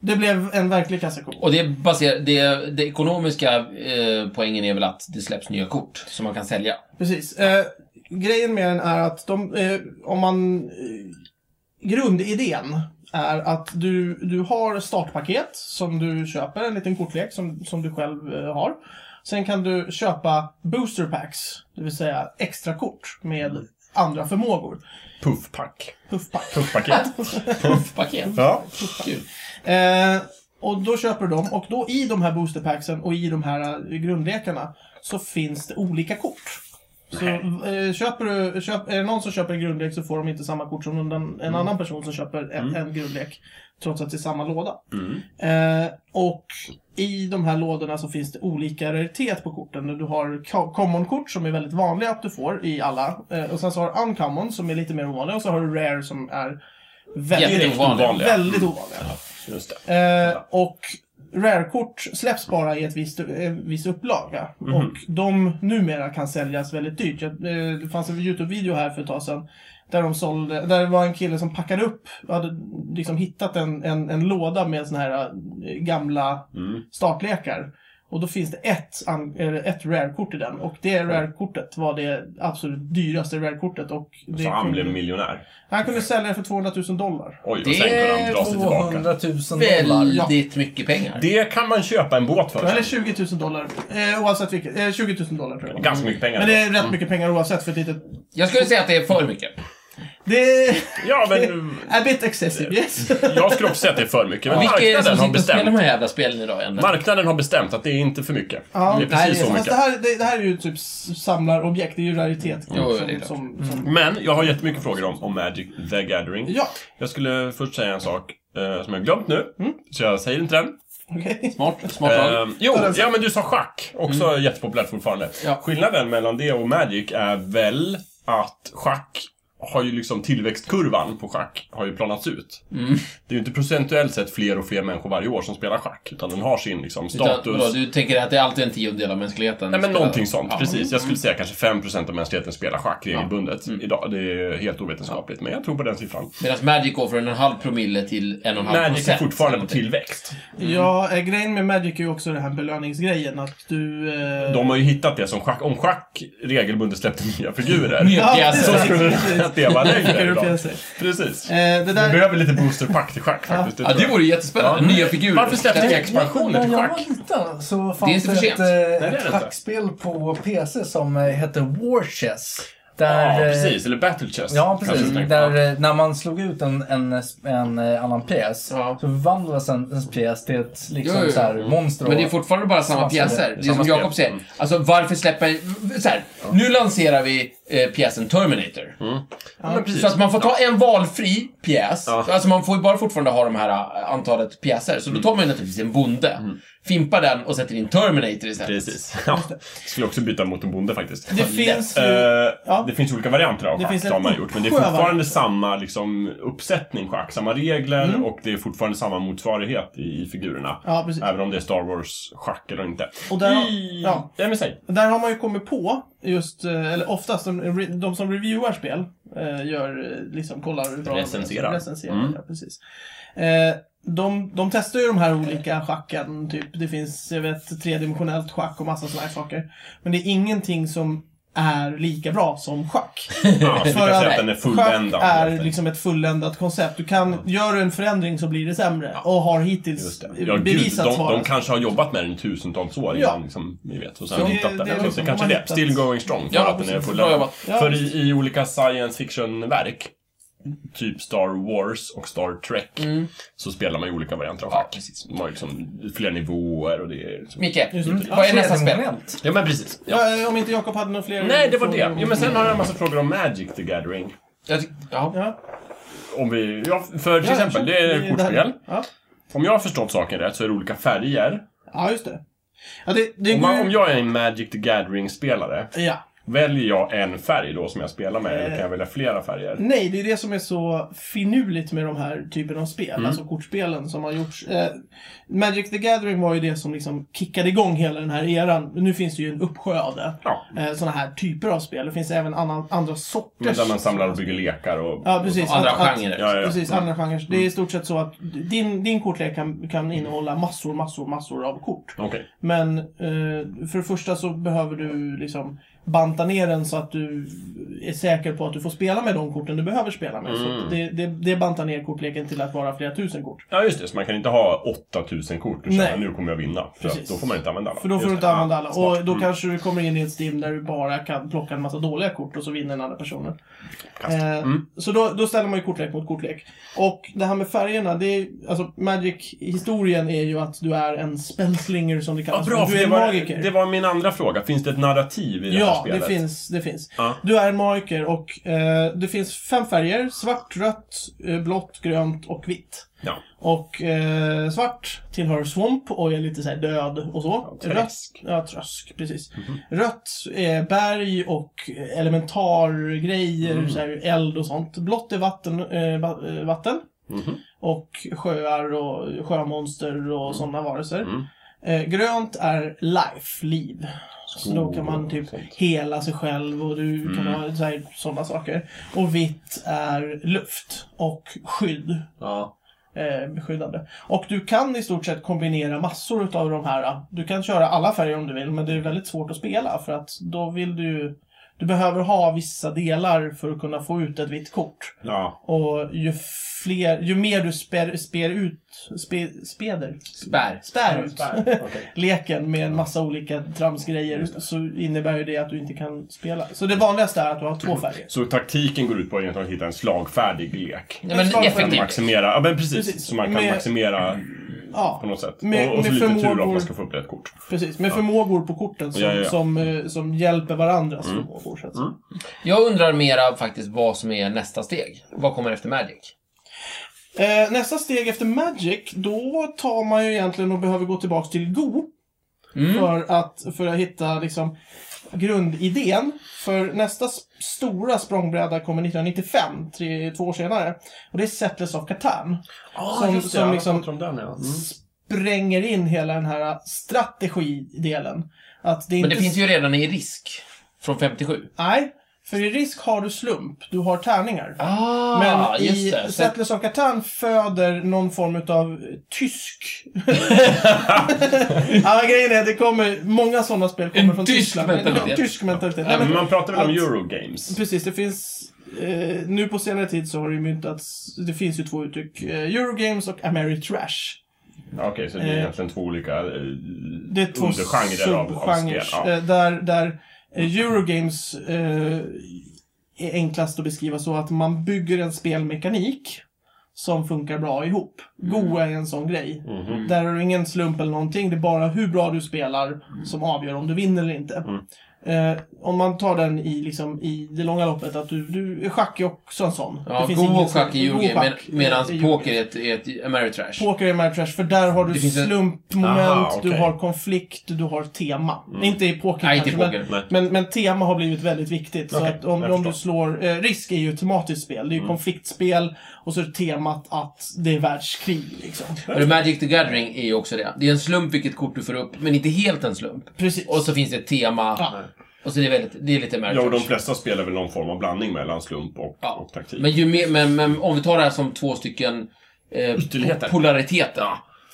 Det blev en verklig kassako. Och det, baserar, det, det ekonomiska eh, poängen är väl att det släpps nya kort som man kan sälja. Precis. Eh, grejen med den är att de, eh, om man... Eh, grundidén är att du, du har startpaket som du köper, en liten kortlek som, som du själv eh, har. Sen kan du köpa booster packs, det vill säga extra kort med andra förmågor. Puffpack. Puffpack. <laughs> Puffpaket. Paket. ja. Kul. Eh, och då köper du dem och då i de här boosterpacksen och i de här eh, grundlekarna så finns det olika kort. Så eh, köper du, köp, är det någon som köper en grundlek så får de inte samma kort som den, en annan person som köper en, en grundlek. Trots att det är samma låda. Eh, och i de här lådorna så finns det olika raritet på korten. Du har co- common-kort som är väldigt vanliga att du får i alla. Eh, och sen så har du uncommon som är lite mer ovanliga. Och så har du rare som är väldigt Direkt ovanliga. Väldigt ovanliga. Just det. Eh, och Rare-kort släpps bara i ett visst, en viss upplaga. Mhm. Och de numera kan säljas väldigt dyrt. Jag, eh, det fanns en YouTube-video här för ett tag sedan. Där, de sålde, där det var en kille som packade upp, hade liksom hittat en, en, en låda med såna här eh, gamla Mm. startlekar. Och då finns det ett, an- eller ett rare-kort i den. Och det rare-kortet var det absolut dyraste rare-kortet. Och det Så han blev kunde, miljonär. han kunde sälja det för 200 000 dollar. Oj, Det och sen kunde han dra sig tillbaka. 200 000 dollar. Väldigt mycket pengar. Det kan man köpa en båt för. Eller 20 000 dollar. Eh, oavsett vilket. Eh, 20 000 dollar tror jag. Ganska mycket pengar. Men det är rätt mycket pengar oavsett för ett litet... Jag skulle säga att det är för mycket. Det är... Ja, <laughs> men A bit excessive, yes. jag skulle också säga att det är för mycket. Men Vilka är det som marknaden sitter har och spelar de bestämt. här jävla spelen idag än? Marknaden har bestämt att det är inte för mycket. <laughs> Ja. Det är precis så Fast mycket. det här, det, det här är ju typ s- samlarobjekt, det är ju raritet. Jo, det är som, klart. som, Mm. som, Men jag har jättemycket frågor om, om Magic the Gathering. Ja, Jag skulle först säga en sak eh, som jag glömt nu, Mm. så jag säger inte den. okej. Smart, smart val. Eh, jo, Ta den sen. ja men du sa schack. Också jättepopulärt fortfarande. Mm. Ja. Skillnaden mellan det och Magic är väl att schack har ju liksom tillväxtkurvan på schack har ju planats ut. Mm. Det är ju inte procentuellt sett fler och fler människor varje år som spelar schack, utan den har sin liksom Utan, status. vadå, du tänker att det är alltid en tiondel av mänskligheten? Nej men spelar- någonting sånt, Ja. precis. Jag skulle säga kanske 5% av mänskligheten spelar schack regelbundet idag. Det är helt ovetenskapligt, men jag tror på den siffran. Medan Magic går från en halv promille till en och en halv Magic är procent. fortfarande på tillväxt. Ja, eh, grejen med Magic är ju också den här belöningsgrejen att du... Eh... De har ju hittat det som schack. Om schack regelbundet släppte nya figurer Ja, Nya precis. så pjäser. skulle det leva längre idag. Europeiser. Precis. Eh, det Vi där... behöver lite boosterpack till schack faktiskt. Ja, tror det jag. vore jättespännande. Ja. Nya figurer. Varför släppte ni Ständiga expansioner När till jag var schack? liten så inte fanns för det, sent. ett, eh, det är det ett inte. schackspel på PC som eh, hette War Chess. Ja, Där, eh, precis. Eller battle chest. Ja, precis. Kanske tänkte jag. Där, eh, när man slog ut en, en, eh, sp- en eh, annan pjäs Ja. så förvandlades en, en pjäs till ett liksom, Jo, jo, jo. så här, monster. Men det är och- fortfarande bara samma Samma spel. pjäser. Det är Samma som spel. Mm. Jakob säger. Alltså varför släpper... Så här, nu lanserar vi eh, pjäsen Terminator. Mm. Ja, men precis. Så att man får ta en valfri pjäs. Ja. Mm. Alltså man får ju bara fortfarande ha de här eh, antalet pjäser. Så då tar man ju naturligtvis en bonde, fimpar den och sätter in Terminator istället. Precis. <laughs> Ja. Skulle också byta mot en bonde faktiskt. Det finns Eh, ju... Ja. Det finns olika varianter av Det schack, finns det en har man gjort. Men det är uppsjö fortfarande varianter. samma liksom, uppsättning schack, samma regler och det är fortfarande samma motsvarighet i figurerna. Mm. Ja, precis. Även om det är Star Wars-schack eller inte. Och där- I... ja. Nej, men <laughs> säg. Där har man ju kommit på, just, eh, eller oftast, de, de som reviewar spel, eh, gör, eh, liksom kollar hur bra de- Recenserar. recenserar Mm. ja, precis. Eh, de, de testar ju de här olika schacken, typ det finns, jag vet, tredimensionellt schack och massa sådana här saker. Men det är ingenting som är lika bra som <laughs> schack. Ja, så vi kan säga att den är fulländad. schack är helt liksom ett fulländat koncept. Du kan, gör du en förändring så blir det sämre. Och har Just hittills det. Ja, gud, bevisats de, vara de kanske har jobbat med den i tusentals år Ja. innan liksom, vi vet. Och sen Så det- hittat den. det är Det, liksom- kanske är de har det. hittat- Still going strong. För Ja, att den är precis. full Bra jobbat. Ja, För i, i olika science fiction-verk, typ Star Wars och Star Trek, så spelar man ju olika varianter av Ja, schack. De har liksom flera nivåer och det är... Liksom... Micke, det. vad är nästa spel? Tredimensionellt. Ja, men precis. Ja. Ja, om inte Jakob hade några fler Nej, det var frågor det. om- Jo, men sen har jag en massa frågor om Magic the Gathering. Jag tyck- ja. Ja. Om vi, ja, för till Ja, kör. exempel, det är kortspel. Ja. Om jag har förstått saken rätt så är det olika färger. ja, just det. Ja, det, det Om, går man, ju... om jag är en Magic the Gathering-spelare, Ja. väljer jag en färg då som jag spelar med, eller kan jag välja flera färger? Nej, det är det som är så finurligt med de här typen av spel, Mm. alltså kortspelen som har gjorts. Eh, Magic the Gathering var ju det som liksom kickade igång hela den här eran. Nu finns det ju en uppsjö av det. Ja. Eh, sådana här typer av spel. Det finns även annan, andra Men sorters... där man samlar och bygger lekar och... Ja, precis. Andra Att- att- genrer. Ja, ja, Mm. ja. Precis, andra genrer. Det är i stort sett så att din, din kortlek kan, kan innehålla massor, massor, massor av kort. Okej. Men eh, för det första så behöver du liksom banta ner den så att du är säker på att du får spela med de korten du behöver spela med. Mm. Så att det, det, det bantar ner kortleken till att vara flera tusen kort. Ja, just det. Så man kan inte ha 8000 kort och Nej. känna nu kommer jag vinna. För att Precis. då får man inte använda alla. För då får Just du det. inte använda alla. Smart. Mm. Och då kanske du kommer in i ett stim där du bara kan plocka en massa dåliga kort och så vinner den andra personen. Kast. Mm. Eh, Så då, då ställer man ju kortlek mot kortlek. Och det här med färgerna, det är, alltså Magic-historien är ju att du är en spellslinger som det Ja, kallas. bra, du för är det en var, magiker. det var min andra fråga. Finns det ett narrativ i det Ja, här här Ja, spelet. det finns. Det finns. Ja. Du är en magiker och eh, det finns fem färger. Svart, rött, eh, blått, grönt och vitt. Ja. Och eh, svart tillhör Swamp och är lite så här död och så. Ja, Mhm. träsk. Rött, ja, trösk. Precis. Rött är berg och elementargrejer, Mm. så här eld och sånt. Blått är vatten. Eh, va- eh, vatten. Mhm. Och sjöar och sjömonster och sådana varelser. Mm. Eh, grönt är life, liv. Så då kan man Skog typ och sånt. hela sig själv och du kan Mm. ha sådana saker. Och vitt är luft och skydd Ja. eh, beskyddande. Och du kan i stort sett kombinera massor utav de här. Du kan köra alla färger om du vill, men det är väldigt svårt att spela för att då vill du... Du behöver ha vissa delar för att kunna få ut ett vitt kort. Ja. Och ju fler, ju mer du spär, spär ut, spe, speder, Spärr. spär ut <laughs> Okej. leken med en massa olika tramsgrejer så innebär ju det att du inte kan spela. Så det vanligaste är att du har två färger. Så taktiken går ut på egentligen att hitta en slagfärdig lek. Ja, men Försvar- Kan effektiv. maximera, ja men precis. Precis. Så man kan Med- maximera Ja. på något sätt. Med- och, och med så lite tur att förmågor. man ska få upp rätt kort. Precis, med förmågor på korten som, Ja, Mm. ja, ja. som, eh, som hjälper varandras förmågor. Så att säga. Jag undrar mera faktiskt vad som är nästa steg. Vad kommer efter Magic? Eh, nästa steg efter Magic, då tar man ju egentligen och behöver gå tillbaks till Go. För, att, för att hitta liksom, grundidén. För nästa s- stora språngbräda kommer 1995, tre, två år senare. Och det är Settlers of Catan. Ah, Som- just det, som alla liksom- pratar om den, ja. Spränger in hela den här strategidelen. Att det är Men det inte finns ju redan i risk. Från 57. Nej, för i risk har du slump. Du har tärningar. Ah, Men just i det. Så, Settlers of Catan föder någon form av tysk... ja, grejen är att det kommer... Många sådana spel kommer En från tysk Tyskland. mentalitet. En tysk mentalitet. Ja, Nej, men men, man pratar väl om Att- Eurogames? precis, det finns... Eh, nu på senare tid så har det ju myntats... Det finns ju två uttryck. Eh, Eurogames och Ameritrash. Ja, Okej, så det är Eh, egentligen två olika eh, Det är två undergenrer av, av spel. subgenrer. Ja. eh, Där, där eh, Eurogames eh, är enklast att beskriva så att man bygger en spelmekanik som funkar bra ihop. Mm. Go är en sån grej. Mhm. Där har du ingen slump eller någonting. Det är bara hur bra du spelar Mm. som avgör om du vinner eller inte. Mm. Eh, om man tar den i, liksom, i det långa loppet att du, du schack är också en sån. ja, Det finns go ingen och sån- schack är go och Eurogame med, schack är medan Eurogame. poker är ett, är ett Ameritrash. Poker är Mad Trash, för där har Det du finns en- slumpmoment, Aha, okej. du har konflikt, du har tema. Inte i poker Mm. Nej, inte i kanske, poker. Nej. Men, men, men tema har blivit väldigt viktigt. Okej, så att om, jag om du förstår. slår... Eh, risk är ju ett tematiskt spel. Det Mm. är ju konfliktspel och så är temat att det är världskrig. Liksom. Och det Magic the Gathering är ju också det. Det är en slump vilket kort du får upp, men inte helt en slump. Precis. Och så finns det ett tema. Ja. Och så är det, väldigt, det är lite Ja, och de Ameritrash. flesta spelar väl någon form av blandning mellan slump och, Ja. och taktik. Men, ju mer, men, men om vi tar det här som två stycken eh, Ytterligheter. polariteter.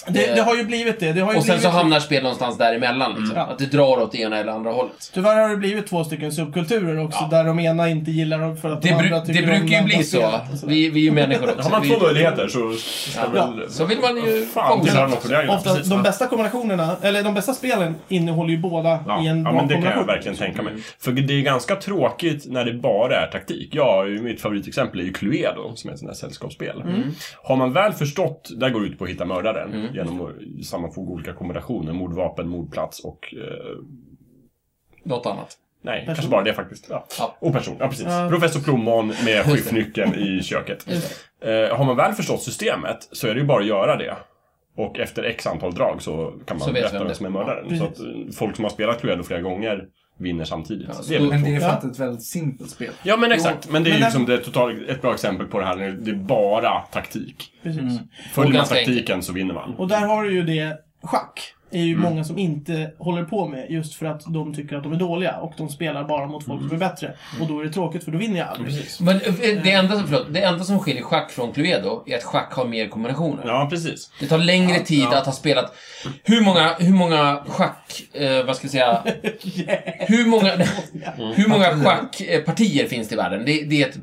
det, det har ju blivit det. det har ju Eh, Och sen blivit så hamnar spel någonstans däremellan. Liksom. Ja. Att det drar åt det ena eller andra hållet. Tyvärr har det blivit två stycken subkulturer också, där de ena inte gillar dem för att Det, de andra bru- tycker det om brukar ju andra bli så. spelet och sådär. Vi, vi är ju människor också. Har man vi, två möjligheter så ska Ja. väl... så vill man ju Fan, fånga tillhör dem. något på det här, ja, Ofta, precis. de Ja. bästa kombinationerna, eller de bästa spelen innehåller ju båda Ja, i en ja bra men det kan jag kombination. verkligen tänka mig. För det är ganska tråkigt när det bara är taktik. Ja, mitt favoritexempel är ju Cluedo, som är ett sånt här sällskapsspel. Mm. Har man väl förstått, där går det ut på att hitta mördaren genom att sammanfoga olika kombinationer. Mordvapen, mordplats och... Eh, Något annat. nej, kanske bara det faktiskt. Ja. Ja. Och person, ja precis. Ja. Professor Plommon med skiftnyckeln i köket. Eh, har man väl förstått systemet så är det ju bara att göra det. Och efter x antal drag så kan man Så vet vi vem berätta vem det- som är mördaren. Ja, så att eh, folk som har spelat Cluedo flera gånger vinner samtidigt. Ja, det är väl så- Men tråkigt. det är Ja. faktiskt ett väldigt simpelt spel. Ja men exakt, men det är ju Men liksom det total, ett bra exempel på det här när det är bara taktik. Precis. Och Följer man ganska taktiken så vinner man. Och där har du ju det, schack är ju Mm. många som inte håller på med just för att de tycker att de är dåliga och de spelar bara mot folk Mm. som är bättre. Och då är det tråkigt för då vinner jag aldrig. Men eh, det enda, som, förlåt, det enda som skiljer schack från Cluedo är att schack har mer kombinationer. Ja precis. Det tar längre tid att ha spelat... Hur många, hur många schack... Eh, vad ska jag <laughs> säga? Hur många, Mm. hur många schackpartier finns det i världen? Det, det är ett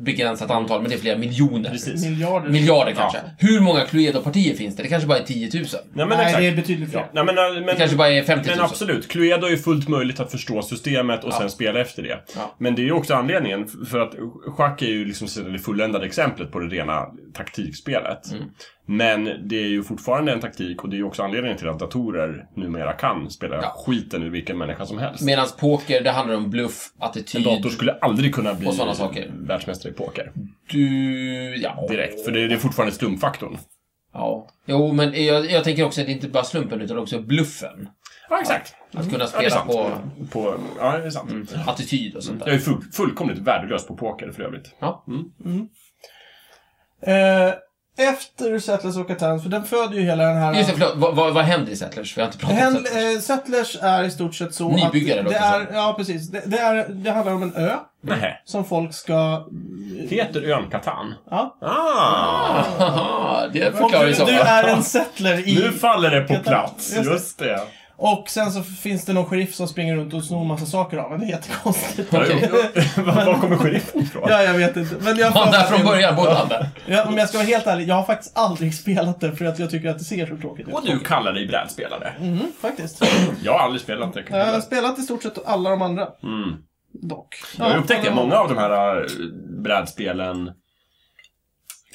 begränsat antal, men det är flera miljoner. precis. Miljarder. Miljarder kanske. Ja. Hur många Cluedo-partier finns det? Det kanske bara är 10 000. Nej men Nej, exakt. det är betydligt Ja, fler. nej, men, eh, men, Det kanske bara är 50 000. Men absolut, Cluedo är ju fullt möjligt att förstå systemet och sen spela efter det. Ja. Men det är ju också anledningen, Mm. f- för att schack är ju liksom det fulländade exemplet på det rena taktikspelet. Men det är ju fortfarande en taktik och det är ju också anledningen till att datorer numera kan spela Ja. skiten ur vilken människa som helst. Medan poker, det handlar om bluff, En attityd. dator skulle aldrig kunna bli Och sådana saker. världsmästare i poker. Du... Ja. Direkt. För det är, det är fortfarande stumfaktorn. ja. Jo, men jag, jag tänker också att det är inte bara slumpen, utan också bluffen. Ja, exakt. Att kunna Ja, det spela är sant. på på... Ja, det är sant. Mm. attityd och sånt där. Jag är full, fullkomligt värdelös på poker för övrigt. Ja. Eh, efter Settlers och Catan, för den föder ju hela den här... Just det, förlåt. Vad, vad, vad händer i Settlers? Vi har inte pratat om Hen, <laughs> Settlers. eh, Settlers är i stort sett så Nybyggare att det låter är, som. Ja, precis. Det, det, är, det handlar om en ö Mm. Nej. som folk ska... Heter ön Katan? Ja. Ah! Haha, det Folk, förklarar du, ju saker. du är en settler i... Nu faller det på Katan. plats. Just det. Just det. Och sen så finns det någon sheriff som springer runt och snor massa saker av en. Det är jättekonstigt. <laughs> Okej. <laughs> Var var kommer sheriffen ifrån? Ja, jag vet inte. Men jag Han där från början bodde han där. Ja, om jag ska vara helt ärlig, jag har faktiskt aldrig <laughs> spelat det för att jag tycker att det ser så tråkigt ut. Och du kallar dig brädspelare. Mm, faktiskt. Jag har aldrig spelat det. Jag har spelat i stort sett alla de andra, Mm. dock. Jag har upptäckt det. alla- Många av de här eh, brädspelen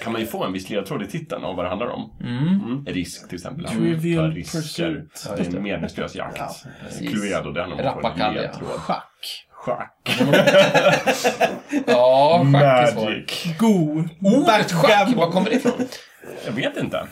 kan man ju få en viss ledtråd i titeln av vad det handlar om. Mm. Risk till exempel. Han Trivial tar risker. Pursuit. Det är en meningslös jakt. Ja, Eh, Cluedo, det handlar om att få en Rappakalja. ledtråd. Schack. Schack. Ja, schack är svårt. Magic. Go. Ordet schack, Backgammon. var kommer det ifrån? Jag vet inte.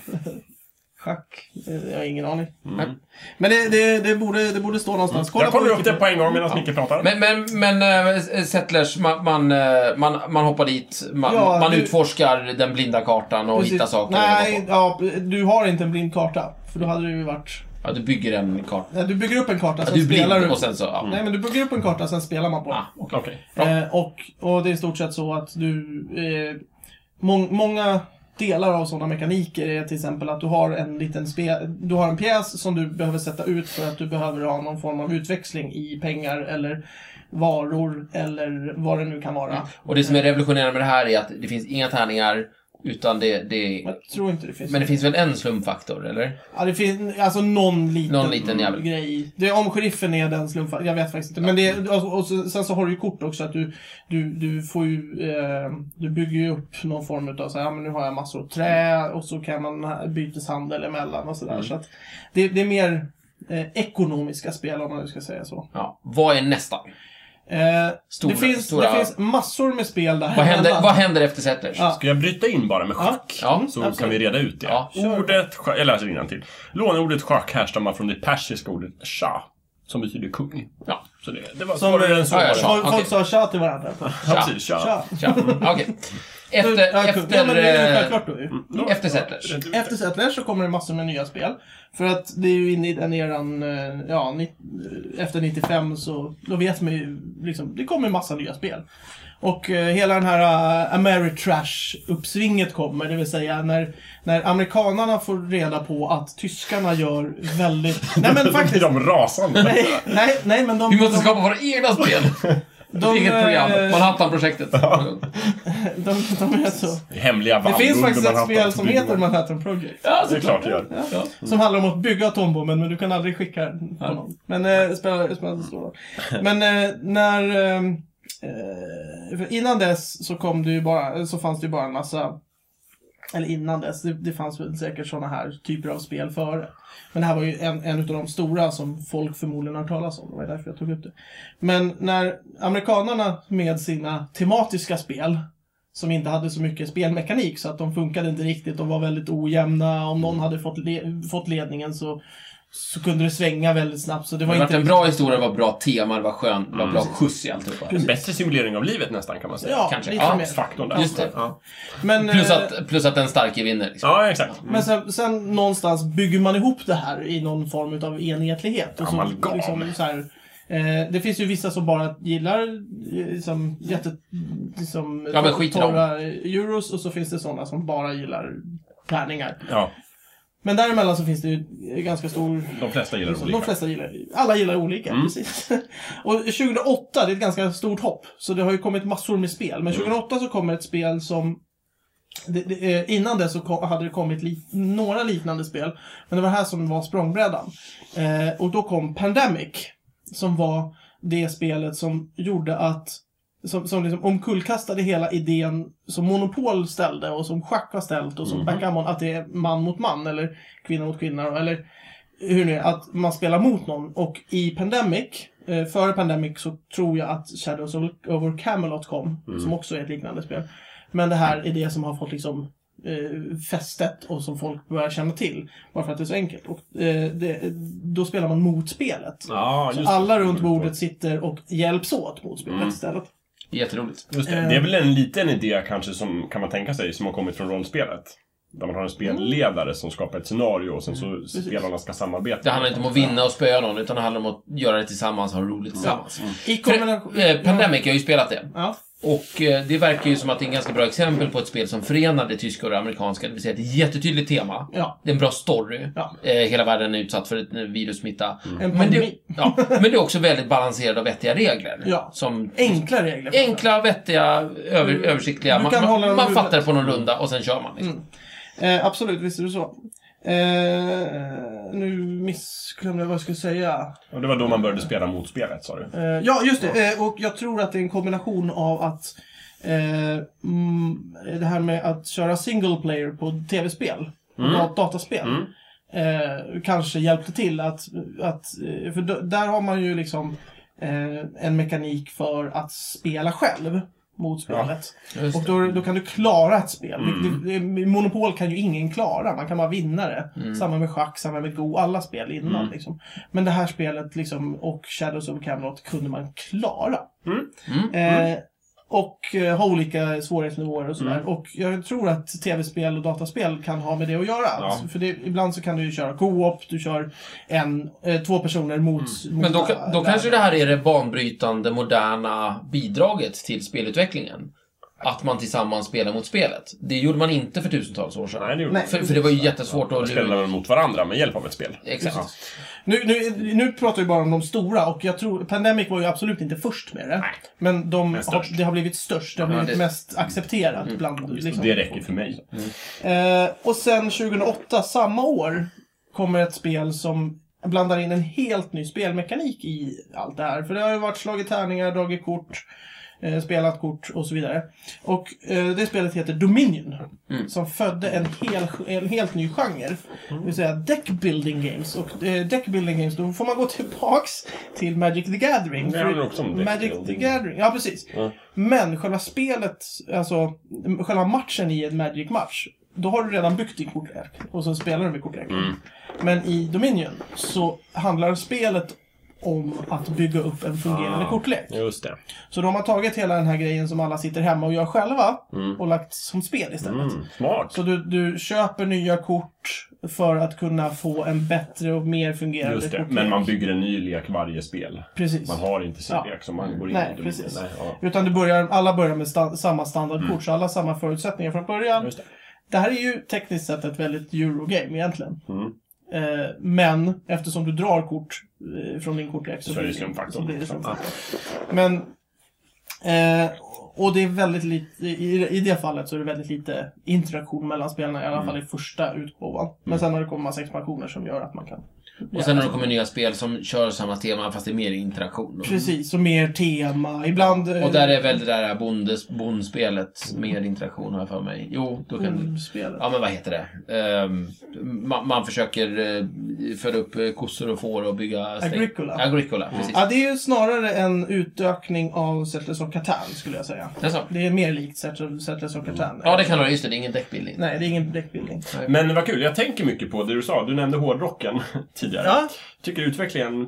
Schack. Eh, Jag har ingen aning. Mm. Men det, det, det, borde, det borde stå någonstans. Kolla Jag kollar på upp det på en gång medan Micke pratar. Men, men, men äh, Settlers, man, man, eh, man, man hoppar dit, man, Ja, man du- utforskar den blinda kartan och hittar saker. Nej, och- ja, du har inte en blind karta. För då hade du ju varit... Ja, du bygger en karta. Nej, Du bygger upp en karta, Ja, sen du är spelar du. blind och sen så... Ja. Nej, men du bygger upp en karta, sen spelar man på den. Ah, Okej. Eh, och, och det är i stort sett så att du... Eh, mång- många delar av sådana mekaniker är till exempel att du har en liten spe, du har en pjäs som du behöver sätta ut för att du behöver ha någon form av utväxling i pengar eller varor eller vad det nu kan vara. Och det som är revolutionerande med det här är att det finns inga tärningar, utan det... det Jag tror inte det finns. men det finns väl en slumpfaktor, eller? ja, det finns alltså någon liten, Någon liten jävel. grej. i. Det, är om sheriffen är den slumpen, jag vet faktiskt inte. Men det, är- och, och så- sen så har du ju kort också att du, du, du får ju, eh, du bygger ju upp någon form utav så här, ja, men nu har jag massor av trä och så kan man ha- byteshandel emellan och Mm. sådär. Så att det, det är mer eh, ekonomiska spel om man nu ska säga så. Ja. Vad är nästa? Eh, Stora- det, finns, stora- det finns massor med spel där. Vad händer, vad händer efter Settlers? Ja. Ska jag bryta in bara med schack? Ja, så absolut. kan vi reda ut det. Ja. Ordet schack, jag läser innantill. Låneordet schack härstammar från det persiska ordet shah, som betyder kung. Ja. Så det, det var Som- svårare än så. Ja, ja, var det. shah. Folk, okej. folk sa tja till varandra. Ja, precis, shah. Tja. Tja. Okej. Efter, Ja, kung. ja, men efter, det är ju eh, självklart då ju. Då- efter Settlers. Rätt ut. Efter Settlers så kommer det massor med nya spel. För att det är ju inne i den eran, eh, ja, ni, eh, efter 95 så, då vet man ju liksom, det kommer massa nya spel. Och eh, hela den här eh, Ameritrash-uppsvinget kommer, det vill säga när, när amerikanarna får reda på att tyskarna gör <laughs> väldigt... Nej men Då blir faktiskt! de rasande. Nej, nej, nej men de... Vi måste de, skapa våra egna spel. de, <laughs> Eget program. eh, Manhattan-projektet. de, de är så... Hemliga Det finns vandror faktiskt man ett haft spel att som bygga. heter Manhattan Project. Ja, Det är klart det gör. Ja. Som handlar om att bygga atombomben men du kan aldrig skicka den på någon. Men eh, det spelar det spelar inte så stor roll. Men eh, när... ehm, Eh, för innan dess så kom det ju bara, så fanns det ju bara en massa... Eller innan dess, det, det fanns väl säkert sådana här typer av spel före. Men det här var ju en, en av de stora som folk förmodligen har hört talas om. Det var därför jag tog upp det. Men när amerikanarna med sina tematiska spel som inte hade så mycket spelmekanik så att de funkade inte riktigt. De var väldigt ojämna. Om Mm. någon hade fått, le- fått ledningen så, så kunde det svänga väldigt snabbt. Så det Det var var inte... Mm. en bra historia, det var bra tema, det var skön, det var bra skjuts i alltihopa. En bättre simulering av livet nästan kan man säga. Ja, kanske. lite Ja, mer. Faktorn där. Just det. Ja, Men, Plus eh, att, plus att den starke vinner. Liksom. ja exakt. Mm. Men sen, sen någonstans bygger man ihop det här i någon form av enhetlighet. Och så, liksom Amalgam. så här, eh, det finns ju vissa som bara gillar eh, liksom, jätte, liksom, Ja, men skit i dem. torra euros och så finns det sådana som bara gillar tärningar. Ja, Men däremellan så finns det ju ganska stor... de flesta gillar Liksom, De olika. Mm. flesta gillar, alla gillar olika, precis. <laughs> Och 2008, det är ett ganska stort hopp. Så det har ju kommit massor med spel. Men Mm. 2008 så kommer ett spel som... Det, det, eh, innan det så kom, hade det kommit li, några liknande spel. Men det var det här som var språngbrädan. Eh, och då kom Pandemic. Som var det spelet som gjorde att som, som liksom omkullkastade hela idén som Monopol ställde och som schack har ställt och som Mm. backgammon, att det är man mot man eller kvinna mot kvinna eller hur nu är, att man spelar mot någon. Och i Pandemic, eh, före Pandemic så tror jag att Shadows of- over Camelot kom, Mm. som också är ett liknande spel. Men det här är det som har fått liksom eh, fästet och som folk börjar känna till. Bara för att det är så enkelt. Och, eh, det, då spelar man mot spelet. Ja, Så just, Mm. alla runt bordet sitter och hjälps åt mot spelet istället. Jätteroligt. just det. Det är väl en liten idé kanske som kan man tänka sig som har kommit från rollspelet. Där man har en spelledare som skapar ett scenario och sen så Mm. spelarna ska samarbeta. Det handlar inte om att vinna och spöa någon, utan det handlar om att göra det tillsammans och ha roligt tillsammans. I Mm. För, kombination... eh, Pandemic, jag har ju spelat det. Ja. Och eh, det verkar ju som att det är en ganska bra exempel på ett spel som förenar det tyska och det amerikanska. Det vill säga ett jättetydligt tema. Ja. Det är en bra story. Ja. Eh, hela världen är utsatt för ett eh, virussmitta. En Men, det, pandemi. ja, men det är också väldigt balanserade och vettiga regler. Ja. Som Enkla regler. för det. enkla, vettiga, över, Du- översiktliga. du Man, kan hålla man, dem man runda. fattar på någon runda och sen kör man. Liksom. Eh, absolut, visst är det så. Eh, nu missglömde jag vad jag skulle säga. Och det var då man började spela mot spelet, sa du? Eh, ja, just det. Eh, och jag tror att det är en kombination av att eh, mm, det här med att köra single player på tv-spel, mm. dataspel, eh, kanske hjälpte till att... att eh, för d- där har man ju liksom eh, en mekanik för att spela själv mot spelet. Just Och då, då kan du klara ett spel. Det, det, det, monopol kan ju ingen klara, man kan bara vinna det. Samma med schack, samma med Go, alla spel innan. Liksom. Men det här spelet liksom, och Shadows of Camelot kunde man klara. Eh, och eh, ha olika svårighetsnivåer och sådär. Och jag tror att tv-spel och dataspel kan ha med det att göra. Alltså, för det, ibland så kan du ju köra co-op, du kör en, eh, två personer mot... mot Men då, alla då där. kanske det här är det banbrytande, moderna bidraget till spelutvecklingen. Att man tillsammans spelar mot spelet. Det gjorde man inte för tusentals år sedan. Nej, det gjorde Nej. man För, för det var ju jättesvårt att... inte. Spelarna mot varandra med hjälp av ett spel. Exakt. Ja. Nu, nu, nu pratar vi bara om de stora och jag tror, Pandemic var ju absolut inte först med det. Men de Men störst. har, det har blivit störst, det har blivit det- mest accepterat bland... Så Liksom. det räcker för mig. Eh, och sen 2008, samma år, kommer ett spel som blandar in en helt ny spelmekanik i allt det här. För det har ju varit slagit tärningar, dragit kort, eh, spelat kort och så vidare. Och eh, det spelet heter Dominion. Mm. Som födde en, hel, en helt ny genre. Det vill säga deck building games. Och eh, deck building games, då får man gå tillbaks till Magic the Gathering. Det handlar också om deck Magic the building. Gathering, ja precis. Men själva spelet, alltså m- själva matchen i en Magic-match, då har du redan byggt din kortlek och så spelar du med kortleken. Mm. Men i Dominion så handlar spelet om att bygga upp en Ah. fungerande kortlek. Just det. Så de har tagit hela den här grejen som alla sitter hemma och gör själva och lagt som spel istället. Mm. Smart. Så du, du köper nya kort för att kunna få en bättre och mer fungerande Just det. kortlek. Men man bygger en ny lek varje spel. Precis. Man har inte sin Ja. lek som man går in Nej, i. precis. Nej, ja. Mm. Utan du börjar, alla börjar med sta- samma standardkort, så alla har samma förutsättningar från början. Just det. Det här är ju tekniskt sett ett väldigt Eurogame egentligen. Mm. Eh, men eftersom du drar kort eh, från din kortlek så, Så är det Ah. blir- så slumpfaktorn. blir det slumpfaktorn. Men... Eh, och det är väldigt lite, i, i det fallet så är det väldigt lite interaktion mellan spelarna, i alla Mm. fall i första utgåvan. Men sen har det kommit massa expansioner som gör att man kan... Mm. Och sen har det kommit nya spel som kör samma tema fast det är mer interaktion. då. Precis, och mer tema. Ibland... eh, Och där är väl det där bondes, bondspelet mer interaktion har jag för mig. Jo, eh, då kan Mm. du... spelet. Ja men vad heter det? Ehm, man, man försöker eh, föda upp eh, kossor och får och bygga... stäng- Agricola. Agricola, precis. Ja, det är ju snarare en utökning av Settlers of Catan skulle jag säga. Det är så. Det är mer likt Settlers Settlers Mm. of Catan. Ja det kan du, just det, det är ingen däckbildning. Nej, det är ingen deckbuilding. Men vad kul, jag tänker mycket på det du sa. Du nämnde hårdrocken <laughs> tidigare. Ja. tycker utvecklingen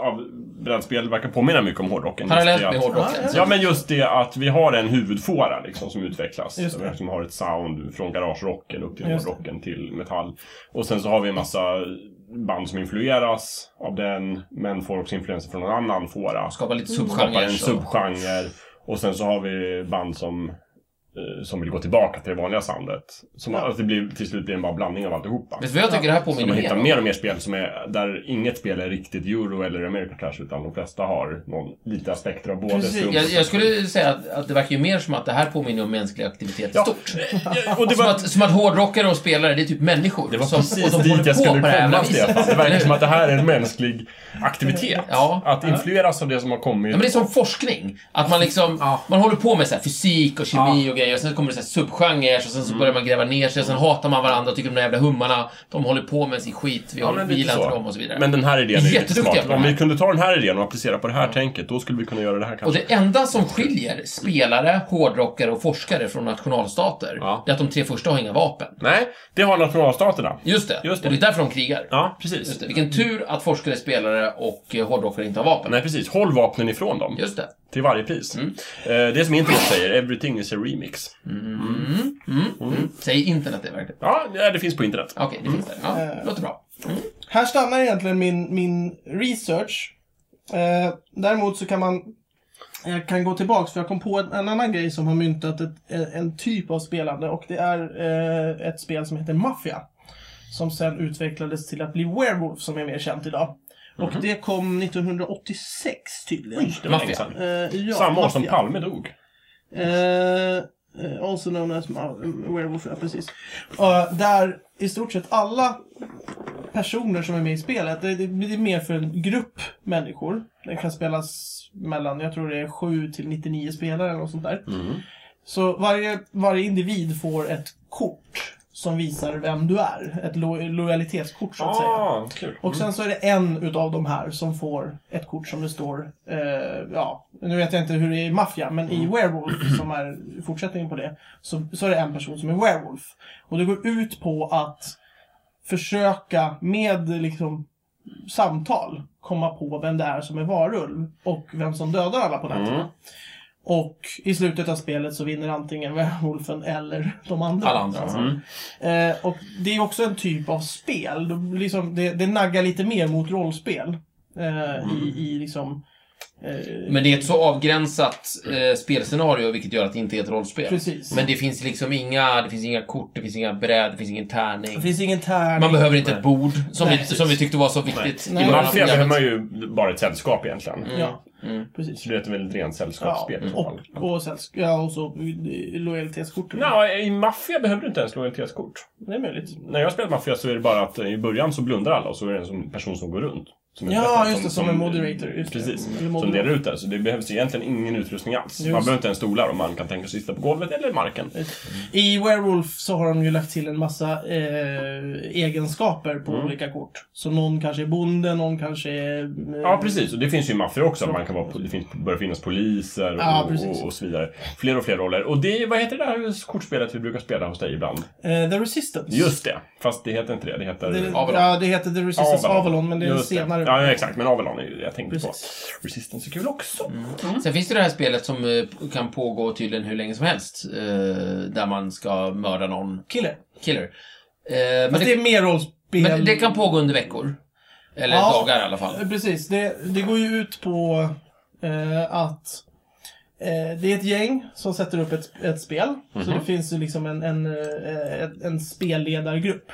av brädspel verkar påminna mycket om hårdrocken. Parallellt Just med det att- hårdrocken. Ja, Ja, men just det att vi har en huvudfåra liksom, som utvecklas. Just det. Som har ett sound från garagerocken upp till Just det. hårdrocken till metall. Och sen så har vi en massa band som influeras av den, men får också influenser från en annan fåra. Skapa lite Skapar subgenrer. en så. subgenre. Och sen så har vi band som eh, som vill gå tillbaka till det vanliga soundet. Som att det blir, till slut blir en bara blandning av alltihopa. Vet du vad jag tycker det här Så påminner man hittar mer om? mer och mer spel som är, där inget spel är riktigt euro eller American Trash utan de flesta har någon, lite aspekter av både Precis. strump- Jag, jag skulle säga att, att det verkar ju mer som att det här påminner om mänsklig aktivitet i Ja. stort. Ja, och det Som var, att, som att hårdrockare och spelare, det är typ människor. det var som, precis och de håller dit jag på skulle på det här jävla komma, viset. Stefan. Det verkar som att det här är en mänsklig aktivitet. Ja. Att influeras av det som har kommit. Ja, men det är som forskning. Att man liksom, Ja. man håller på med så här fysik och kemi och grejer, och sen kommer det så här subgenrer, och Mm. sen så börjar man gräva ner sig, och sen hatar man varandra och tycker de där jävla hummarna, de håller på med sin skit, vi, Ja, håller, men vi lite gillar inte så. dem och så vidare. Men den här idén är ju lite Jätteduktiga på smart. det Om här. vi kunde ta den här idén och applicera på det här tänket, då skulle vi kunna göra det här och kanske. det enda som skiljer spelare, hårdrockare och forskare från nationalstater, Ja. det är att de tre första har inga vapen. Nej, det har nationalstaterna. Just det, Just det. och det är därför de krigar. Ja, precis. Just det. Vilken tur att forskare, spelare och eh, hårdrockare inte har vapen. Nej, precis. Håll vapnen ifrån dem. Just det. Till varje pris. Eh, Det som internet säger, everything is a remix. Mm. Mm. Säg internet det verkligen. Ja, nej, det finns på internet. Okej, det finns där. Eh. Ja, låter bra. Här stannar egentligen min, min research. Eh, däremot så kan man jag kan gå tillbaks för jag kom på en, en annan grej som har myntat ett, en, en typ av spelande och det är eh, ett spel som heter Mafia. Som sen utvecklades till att bli Werewolf som är mer känt idag. Och det kom 1986 tydligen. Mhm. Det var länge Mafia. sedan. Eh, ja, Samma år som Mafia. Palme dog. Eh, eh, also known as Ma- Werewolf, ja precis. Eh, där i stort sett alla personer som är med i spelet, det, det, det är mer för en grupp människor. Den kan spelas mellan, jag tror det är 7 till 99 spelare eller något sånt där. Så varje, varje individ får ett kort som visar vem du är. Ett lo- lojalitetskort så att säga. Ah, kul. Mm. Och sen så är det en utav de här som får ett kort som det står, eh, ja, nu vet jag inte hur det är i Mafia, men Mm. i Werewolf, som är fortsättningen på det, så, så är det en person som är Werewolf. Och det går ut på att försöka med liksom samtal komma på vem det är som är varulv och vem som dödar alla på nätterna. Mm. Och i slutet av spelet så vinner antingen Werewolfen eller de andra. Alltså. Alla andra. mm. Så- Eh, och det är också en typ av spel. De, liksom, det, det naggar lite mer mot rollspel. Eh, Mm. i, I liksom... Eh, Men det är ett så avgränsat eh, spelscenario, vilket gör att det inte är ett rollspel. Precis. Men det finns liksom inga, det finns inga kort, det finns inga bräd, det finns ingen tärning. det finns ingen tärning. Man behöver inte ett bord, som, Nej, vi, precis. som vi tyckte var så viktigt. Nej. i Mm. början av Mafia behöver programmet. man ju bara ett sällskap egentligen. Ja, precis. Så Mm. det är ett väldigt rent Ja, sällskapsspel i så och, fall. och, sen, sk- ja, och så eh, lojalitetskorten. Ja, i Mafia behöver du inte ens lojalitetskort. Det är möjligt. När jag spelat Mafia så är det bara att eh, i början så blundar alla och så är det en som- person som går runt. Som Ja, uträttare, just det, som en moderator, just det. precis. Eller Som moderator. delar ut det. Så det behövs egentligen ingen utrustning alls. Man behöver inte ens stolar om man kan tänka sig sitta på golvet eller marken. I Werewolf så har de ju lagt till en massa eh, egenskaper på Mm. olika kort. Så någon kanske är bonde, någon kanske är... eh, Ja, precis. Och det finns ju i Mafia också. Man kan vara, po- det finns, börjar finnas poliser och, Ja, precis. och, och så vidare. Fler och fler roller. Och det, vad heter det där kortspelet vi brukar spela hos dig ibland? eh, The Resistance. Just det. Fast det heter inte det. Det heter... Det, Avalon. ja, det heter The Resistance Avalon, men det är en Just senare. Ja, ja, exakt. Men Avalon är ju det jag tänkte Precis. Mm. på. Resistance är kul också. Sen finns det det här spelet som eh, kan pågå tydligen hur länge som helst. Eh, där man ska mörda någon Killer. killer. Eh, men, Fast det det, är mer rollspel. men det kan pågå under veckor. Eller Ja. dagar i alla fall. Eh, Precis, det, det går ju ut på eh, att eh, det är ett gäng som sätter upp ett, ett spel. Mhm. Så det finns ju liksom en, en, eh, en, en spelledargrupp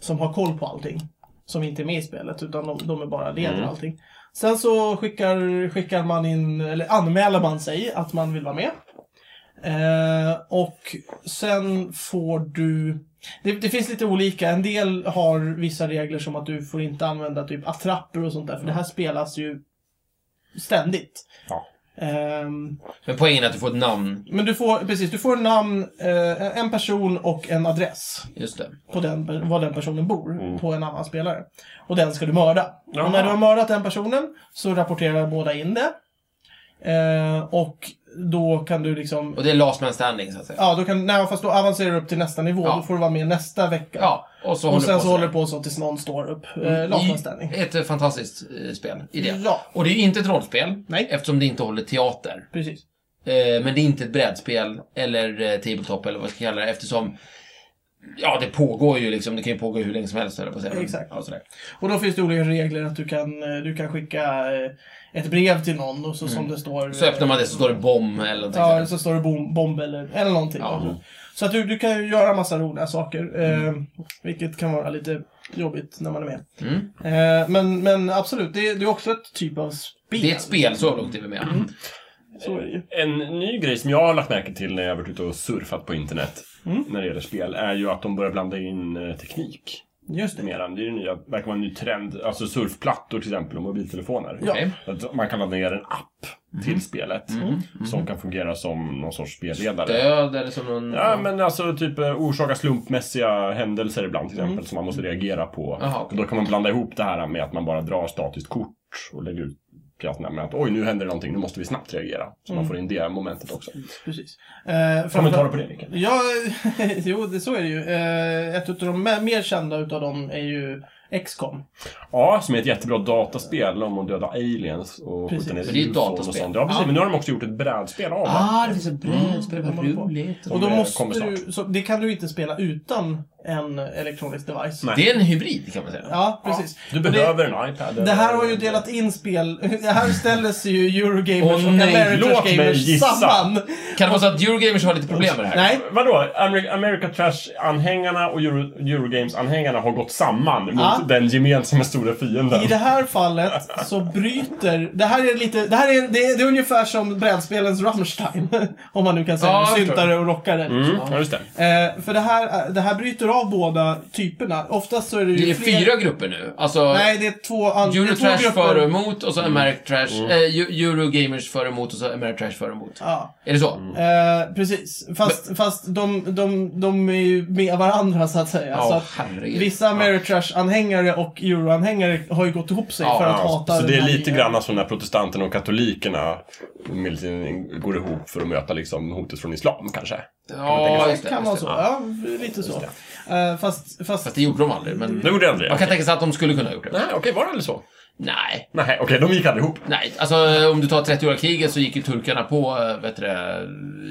som har koll på allting. Som inte är med i spelet, utan de, de är bara leder Mm. allting. Sen så skickar, skickar man in, eller anmäler man sig att man vill vara med. Eh, och sen får du... Det, det finns lite olika. En del har vissa regler som att du får inte använda typ attrapper och sånt där. För det här spelas ju ständigt. Ja. Ehm, Men poängen är att du får ett namn. men du får, precis, du får namn, eh, en person och en adress. Just det. På den, var den personen bor på en annan spelare. Och den ska du mörda. Jaha. Och när du har mördat den personen så rapporterar båda in det. Eh, och då kan du liksom Och det är last man standing, så att säga. Ja, då kan, nej, fast då avancerar du upp till nästa nivå. Ja. Då får du vara med nästa vecka. Ja, och så och håller sen det så på håller det på så tills någon står upp. Eh, sådär. Latmanställning. I- Ett eh, fantastiskt eh, spel i det. Ja. Och det är inte ett rollspel, Nej. eftersom det inte håller teater. Precis. Eh, Men det är inte ett brädspel eller eh, tabletop eller vad jag ska kalla det eftersom Ja, det pågår ju liksom. Det kan ju pågå hur länge som helst, höll jag på att säga. Men, Exakt. Ja, sådär. Och då finns det olika regler att du kan, eh, du kan skicka eh, ett brev till någon och så som det står... Mm. eh, Så öppnar man det så står det bomb eller någonting Ja, sådär. eller så står det bom, bomb eller, eller någonting. Mm. Ja. Så att du, du kan ju göra massa roliga saker. Eh, vilket kan vara lite jobbigt när man är med. Mm. Eh, men, men absolut, det, det är också ett typ av spel. Det är ett spel, så långt är vi med. Mm. Så är det ju. En ny grej som jag har lagt märke till när jag har varit ute och surfat på internet Mm. när det gäller spel är ju att de börjar blanda in eh, teknik. Just det. Mera. Det är ju nya, verkar vara en ny trend. Alltså surfplattor till exempel och mobiltelefoner. Ja. Mm. Okej. Att man kan ladda ner en app till spelet som kan fungera som någon sorts spelledare. Död eller som någon... Ja, men alltså typ eh, orsaka slumpmässiga händelser ibland Mm. till exempel som man måste reagera på. Jaha, okej. Och då kan man blanda ihop det här med att man bara drar statiskt kort och lägger ut pjäserna med att oj, nu händer det någonting, nu måste vi snabbt reagera. Så Mm. man får in det momentet också. Precis. Eh, Kommentarer framför- på det, Rickard? Ja, <laughs> jo, det, så är det ju. Eh, ett av de me- mer kända utav dem är ju XCOM. Ja, som är ett jättebra dataspel om att döda aliens och Precis. skjuta ner Men det är ju ufon och dataspel. sånt. Ja, precis. Ja. Men nu har de också gjort ett brädspel av det. Ah, det finns ett brädspel. Vad Mm. roligt. Och då eh, måste kommer snart. du, så det kan du inte spela utan en elektronisk device. Nej. Det är en hybrid, kan man säga. Ja, precis. Du Och det- behöver en iPad. Det här eller- har ju delat in spel... Det här ställer sig ju Eurogamers Åh, och nej, America's låt mig Gamers gissa. samman. Kan det vara så att Eurogamers har lite problem med det här? Nej, Vadå? Ameri- America Trash-anhängarna och Euro- Eurogames-anhängarna har gått samman mot Ja. den gemensamma stora fienden. Ah. I det här fallet så bryter... Det här är lite... Det här är, det är, det är ungefär som brädspelens Rammstein. <laughs> Om man nu kan säga Ja, jag förstår. syntare och rockare. Mm, ja, just det. Eh, för det här, det här bryter av båda typerna. Oftast så är det ju Det är ju fler- fyra grupper nu. Alltså, Nej, det är två, an- det är två Eurotrash för och grupper. emot och så Americ Trash, eh, Eu- Eurogamers för och emot och så Americ Trash för och emot. Ja, Är det så? eh, precis. Fast, fast de, de, de är ju med varandra så att säga. Ja, så att herregud. vissa Ameritrash-anhängare och Euro-anhängare har ju gått ihop sig Ja, för att Ja, hata så den det är här lite ligan. grann som när protestanterna och katolikerna med- går ihop för att möta liksom, hotet från islam kanske. Ja, just det kan vara så. Ja. Ja, lite så. Eh, fast, fast, Fast det gjorde de aldrig, men... Det gjorde jag aldrig. Man kan tänka sig att de skulle kunna ha gjort det. Nej, okej, var det aldrig så? Nej. Nej, okej, de gick aldrig ihop. Nej, alltså om du tar 30-åriga kriget så gick ju turkarna på, eh, vet du det,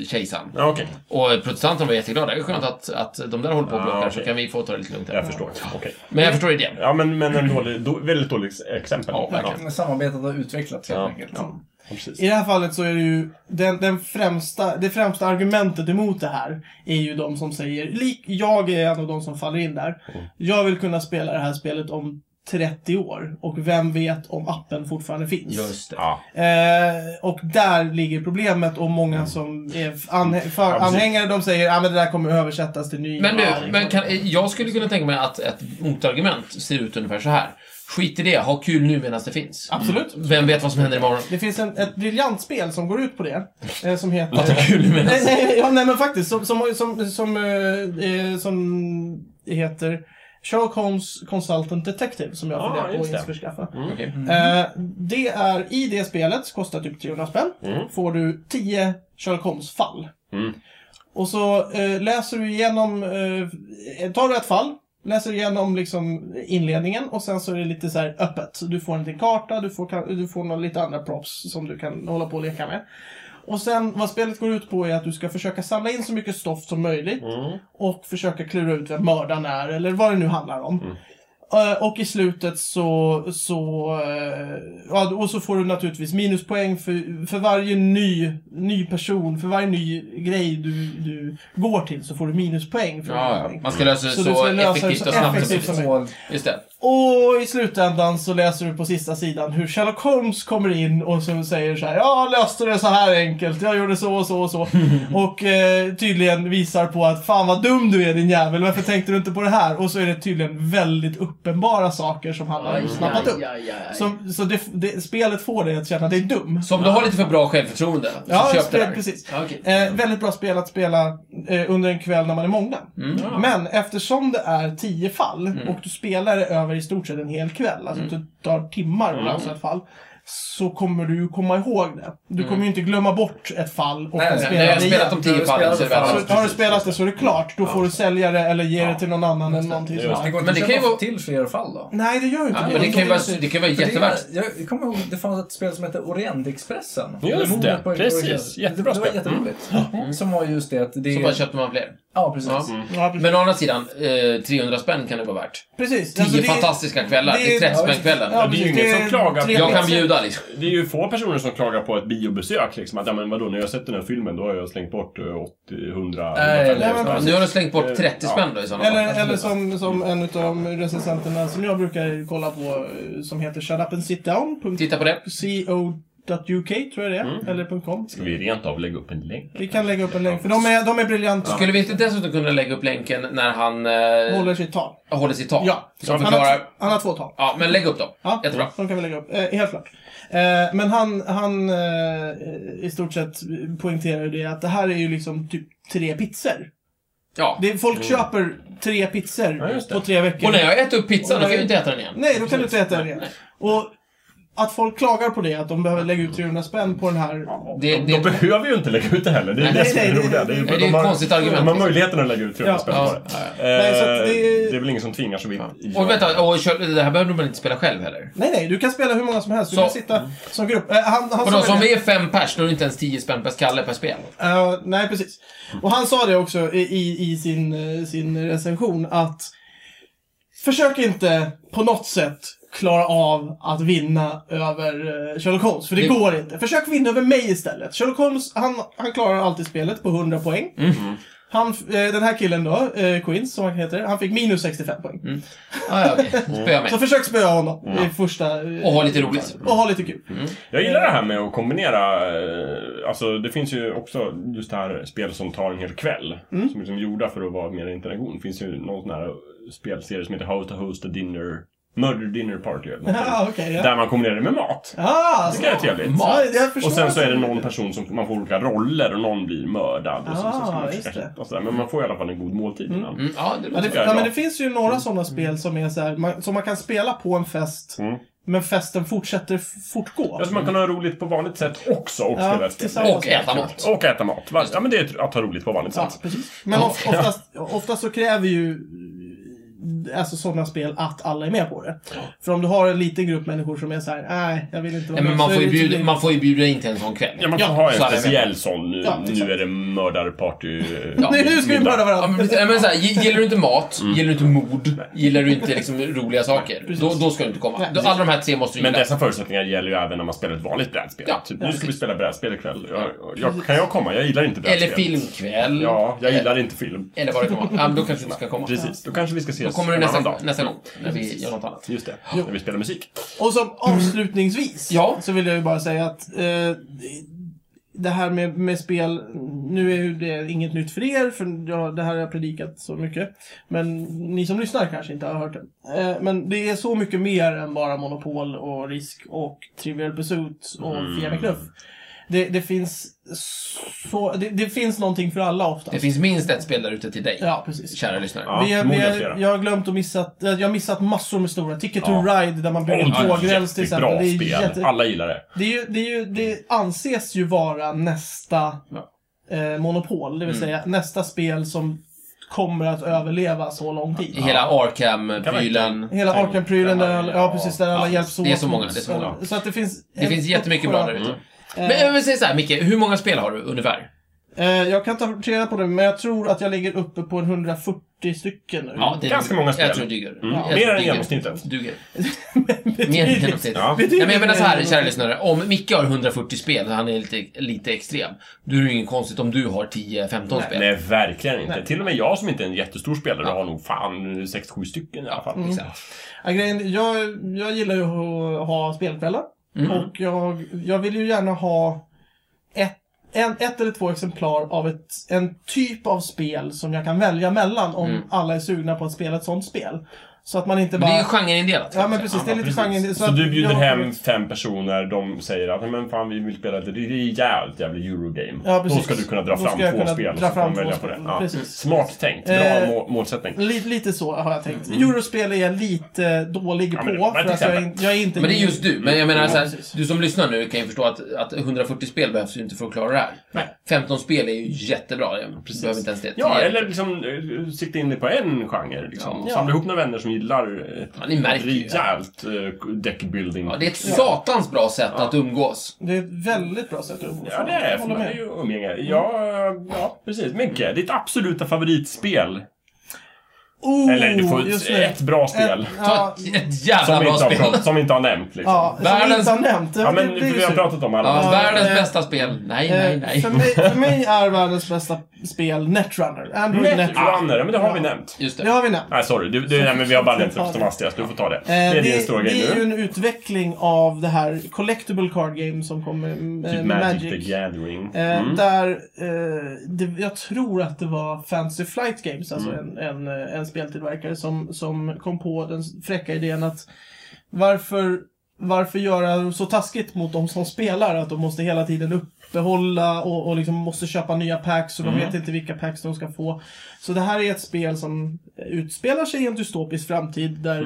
kejsaren. Ja, okej. Och protestanterna var jätteglada. Det är skönt att, att de där håller på och Ja, bråkar, så okej. kan vi få ta det lite lugnt här. Jag förstår. Okej. Men jag förstår idén. Ja, men, men en dålig, då, väldigt dåligt exempel. Ja, verkligen. Samarbetet har utvecklats helt Ja. enkelt. Ja, precis. I det här fallet så är det ju den, den främsta, det främsta argumentet emot det här är ju de som säger, lik, jag är en av de som faller in där. Jag vill kunna spela det här spelet om 30 år och vem vet om appen fortfarande finns. Just det. Ja. Eh, och där ligger problemet och många som är anhä- för Ja, precis. anhängare de säger att ah, men det där kommer översättas till ny. Men Ja, du, liksom. men kan, jag skulle kunna tänka mig att ett motargument ser ut ungefär så här. Skit i det, ha kul nu medan det finns. Mm. Absolut. Vem vet vad som händer imorgon? Det finns en, ett briljant spel som går ut på det. Eh, som Att ha heter... kul nu medan... nej, nej, ja, nej men faktiskt. Som, som, som, som, eh, eh, som heter Sherlock Holmes Consultant Detective som jag Ah, funderar på att just det. Mm. införskaffa. Okej. Eh, det är, I det spelet, kostar typ 300 spänn, får du 10 Sherlock Holmes-fall. Mm. Och så eh, läser du igenom, eh, tar du ett fall, läser igenom liksom inledningen och sen så är det lite så här öppet. Så Du får en liten karta, du får, ka- du får några lite andra props som du kan hålla på och leka med. Och sen vad spelet går ut på är att du ska försöka samla in så mycket stoff som möjligt Mm. och försöka klura ut vem mördaren är eller vad det nu handlar om. Mm. Eh, Och i slutet så, så, eh, ja, och så får du naturligtvis minuspoäng för, för varje ny, ny person, för varje ny grej du, du går till så får du minuspoäng. För varje Ja, ja. poäng. Man ska lösa det Så så, du ska lösa det effektivt så och snabbt som effektivt som möjligt. Mål. Just det. Och i slutändan så läser du på sista sidan hur Sherlock Holmes kommer in och så säger så här Jag löste det så här enkelt, jag gjorde så och så och så. och eh, tydligen visar på att fan vad dum du är din jävel, varför tänkte du inte på det här? Och så är det tydligen väldigt uppenbara saker som han har snappat upp. Som, så det, det, spelet får dig att känna dig dum. Så om du har lite för bra självförtroende, så Ja, köp det spel, där. precis. Ja, okej. Eh, väldigt bra spel att spela eh, under en kväll när man är många. Mm. Men eftersom det är tio fall och du spelar det över i stort sett en hel kväll, alltså Mm. att det tar timmar att lösa ett fall, så kommer du ju komma ihåg det. Du Mm. kommer ju inte glömma bort ett fall och Nej, nej, nej, spela När jag det har igen. spelat de tio fallen så är det Ja, Så väl har du spelat det så är det klart. Då får du sälja det eller ge det till någon annan eller någonting Just sånt. Det går Men inte men det det kan ju vara- till fler fall då. Nej, det gör ju inte Ja, det. Men det kan ju vara, det kan vara För det är- jättevärt. Jag kommer ihåg det fanns ett spel som hette Orientexpressen. Just Eller Mordet det, på- precis. Jättebra Det var spel. jätteroligt. Som var just det att det Så Mm. bara köpte man fler. Ja, precis. Ja. Ja, precis. Men å andra sidan, eh, 300 spänn kan det vara värt. precis. Tio Alltså, det är- fantastiska kvällar. Det är 30 ja, spänn kvällen. ja, det är ju precis. ingen Det är som klagar. tre- Jag kan bjuda liksom. Det är ju få personer som klagar på ett biobesök liksom. Att, ja men vadå, när jag har sett den här filmen då har jag slängt bort eh, 80, 100, Nej, 150 nej, men spänn. Nu har du slängt bort 30 Ja. spänn då i sådana fall. Eller, eller som, som en av recensenterna som jag brukar kolla på eh, som heter shutupandtitdown.co.uk Titta på det. tror jag det är. Eller .com. Ska vi rent av lägga upp en länk? Vi kan lägga upp en länk, för de är, de är briljanta. Skulle vi inte dessutom kunna lägga upp länken när han eh, Håller sitt tal. håller sitt tal? Ja. Som Han har, förklarar... t- han har två tal. Ja, men lägg upp dem. Ja, Jättebra. de kan vi lägga upp. Eh, helt klart. Eh, men han, han eh, i stort sett poängterar ju det att det här är ju liksom typ tre pizzor. Ja. Det, är- folk köper tre pizzor Ja, just det. på tre veckor. Och när jag äter upp pizzan, då kan jag ju inte äta den igen. Nej, då kan du inte äta den igen. Och att folk klagar på det, att de behöver lägga ut 300 spänn på den här. Det, De det, behöver ju inte lägga ut det heller. Det är det Nej, som är nej, det det- roliga. Det ju- nej, det är ju de ett har- konstigt argument, De har liksom. möjligheten att lägga ut 300 Ja. spänn Ja. på det. Nej, så att Eh, det- Det är väl ingen som tvingar så vitt jag- och vänta, och, kör- det här behöver du väl inte spela själv heller? Nej, nej, du kan spela hur många som helst. Du Så- kan sitta som grupp. Eh, han, han Vadå, sa som det- vi är fem pers, då är det inte ens 10 spänn per skalle per spel. Eh, nej, precis. Och han sa det också i, i, i sin, eh, sin recension att försök inte på något sätt klara av att vinna över eh, Sherlock Holmes, för det, Det- går inte. Försök vinna över mig istället. Sherlock Holmes, han, han klarar alltid spelet på 100 poäng. Mm. Han, eh, den här killen då, eh, Quince, som han heter, han fick minus 65 poäng. Ah, ja, okej. Mm. Spöa mig. Så försök spöa honom i första... eh, Och ha lite Mm. roligt. och ha lite kul. Jag gillar det här med att kombinera, eh, alltså det finns ju också just det här spel som tar en hel kväll. Som liksom är gjorda för att vara mer interaktion. Det finns ju någon sån här spelserie som heter How to host a dinner, murder dinner party eller någonting. Ja, okej. ja. Där man kombinerar det med mat. Ah, Det är trevligt. Ma- Ja, jag förstår Och sen så är det att- någon person som, man får olika roller och någon blir mördad. Och så, så ska Ah, man just försöka det. hitta och sådär. Men man får i alla fall en god måltid innan. Mm, ja, det Ja, låter det, bra. jag är ja, men bra. det finns ju Mm. några sådana spel som är så här, man, som man kan spela på en fest, Mm. men festen fortsätter f- fortgå. Ja, så man kan ha roligt på vanligt sätt också och Ja, spela ett spel. tillsammans. Och äta mat. Och äta mat. Va? Ja, men det är att ha roligt på vanligt Ja, sätt. Alltså, precis. Men of, oftast, oftast så kräver ju eh, alltså sådana spel att alla är med på det. För om du har en liten grupp människor som är så här, nej, jag vill inte vara Nej, med. men man så får, är det ju bjuda, inte- man får ju bjuda in till en sån kväll. Ja, man kan ha en så är det. speciell sån. Nu, Ja, exakt. nu är det mördarparty... eh, Ja. Nej, <laughs> nu ska vi middag. mörda Ja, men, varandra. precis. Ja, men så här, gi- gillar du inte mat, Mm. gillar du inte mord, gillar du inte liksom, roliga saker, precis. då, då ska du inte komma. Nej, Då- precis. Alla de här tre måste du Men gilla. dessa förutsättningar gäller ju även när man spelar ett vanligt brädspel. Ja, typ, nu ska vi spela brädspel ikväll. Jag, jag, kan jag komma? Jag gillar inte brädspel. Eller filmkväll. Ja, jag gillar inte film. Eller vad det kan vara. Ja, men då kanske du inte ska komma. Precis. Då kanske vi ska ses Då kommer du en annan nästa, dag. nästa gång, när vi gör något annat. Just det, när vi spelar musik. Och som avslutningsvis Ja. så vill jag ju bara säga att eh, det här med, med spel, nu är ju det inget nytt för er, för jag, det här har jag predikat så mycket. Men ni som lyssnar kanske inte har hört det. Eh, men det är så mycket mer än bara Monopol och Risk och Trivial Pursuit och Mm. Fia med knuff. Det, det finns så, det, det finns någonting för alla ofta. Det finns minst ett spel där ute till dig, Ja, precis. kära lyssnare. Ja. Vi, vi, många jag, flera. har glömt att missat, eh, jag har missat massor med stora. Ticket to Ja. Ride där man bygger Åh, det är tågräls till ett exempel. bra Det, är spel. jätte- Alla gillar det. det, är ju, det, är ju, det anses ju vara nästa Ja. eh, monopol, det vill Mm. säga nästa spel som kommer att överleva så lång tid. Hela Arkham-prylen. Hela Tänk- Arkham-prylen, där alla, ja, precis, där alla Ja, hjälps åt. det är så många, det är så många. Så att det finns... Det finns jättemycket bra där ute. Eh, Men jag vill säga så här, Micke, hur många spel har du ungefär? eh, jag kan ta reda på det, men jag tror att jag ligger uppe på en 140 stycken nu. <laughs> det Ganska många spel. Jag tror det duger. Mm. Jag tror Mer det än duger. genomsnittet. Duger. Mer än genomsnittet. Ja. Nej, men jag menar så här, Betydligt. kära lyssnare. Om Micke har 140 spel, han är lite, lite extrem, då är det ju inget konstigt om du har 10-15 spel. Nej, verkligen inte. Nej. Till och med jag som inte är en jättestor spelare Ja. har nog fan 6-7 stycken i alla Mm. fall. Liksom. Exakt. Ja, grejen, jag, jag gillar ju att ha spelkvällar. Mm. Och jag, jag vill ju gärna ha ett, en, ett eller två exemplar av ett, en typ av spel som jag kan välja mellan om Mm. alla är sugna på att spela ett sånt spel. Så att man inte Men bara... det alltså. är ju genreindelat. Ja, men precis. Det är lite Precis. genren. Så, att du bjuder jag- hem fem personer, de säger att "Nej, men fan vi vill spela ett rejält jävla eurogame. Ja, Då precis. ska du kunna dra Då ska fram jag två kunna spel och dra så kan fram man två välja på spel. det. Ja. Precis. Smart tänkt, bra Eh, må- målsättning. Lite, lite så har jag tänkt. Eurospel är jag lite dålig Mm. Ja, på. men det var ett För att jag, är exempel. in- jag är inte... Men det är just du. Men jag menar Ja, så här, precis. du som lyssnar nu kan ju förstå att, att 140 spel behövs ju inte för att klara det här. Nej. 15 spel är ju jättebra. Jag behöver inte ens det. Ja, Tio- eller liksom eh, sikta in dig på en genre. Liksom. Ja. Samla ihop några vänner som som gillar ett Ja, ni märker ju. rejält eh, deckbuilding. Ja, det är ett satans bra sätt att umgås. Det är ett väldigt bra sätt att umgås. Ja, det är Jag för håller mig med. Mm. är ju umgänge. Ja, ja, precis. Micke, ditt absoluta favoritspel? Oh, Eller du får just ett, nu. ett bra spel. Ett- Ta Ja, ett, ett jävla Som vi, bra inte har, spel. prat- som vi inte har nämnt liksom. Ja, ja, som vi Världens- inte har nämnt. Det- men det blir vi har synd. pratat om alla. Ja, Ja, världens eh, bästa spel. Nej, nej, Eh, nej. för, mig, för mig är världens bästa spel Netrunner. Android Netrunner. Netrunner, men det har vi Ja. nämnt. Just Det det. har vi nämnt. Nej, sorry. Du, du, nej, men vi har bara nämnt det som hastigast. Du får ta det. det Eh, är det, din stora det grej är ju nu. en utveckling av det här Collectible Card Game som kommer med Typ Magic, eh, Magic. the Gathering. Eh, Mm. Där, eh, det, jag tror att det var Fancy Flight Games, alltså Mm. en, en, eh, en speltillverkare som, som kom på den fräcka idén att varför, varför göra så taskigt mot de som spelar att de måste hela tiden uppehålla och, och liksom måste köpa nya packs och de Mm. vet inte vilka packs de ska få. Så det här är ett spel som utspelar sig i en dystopisk framtid där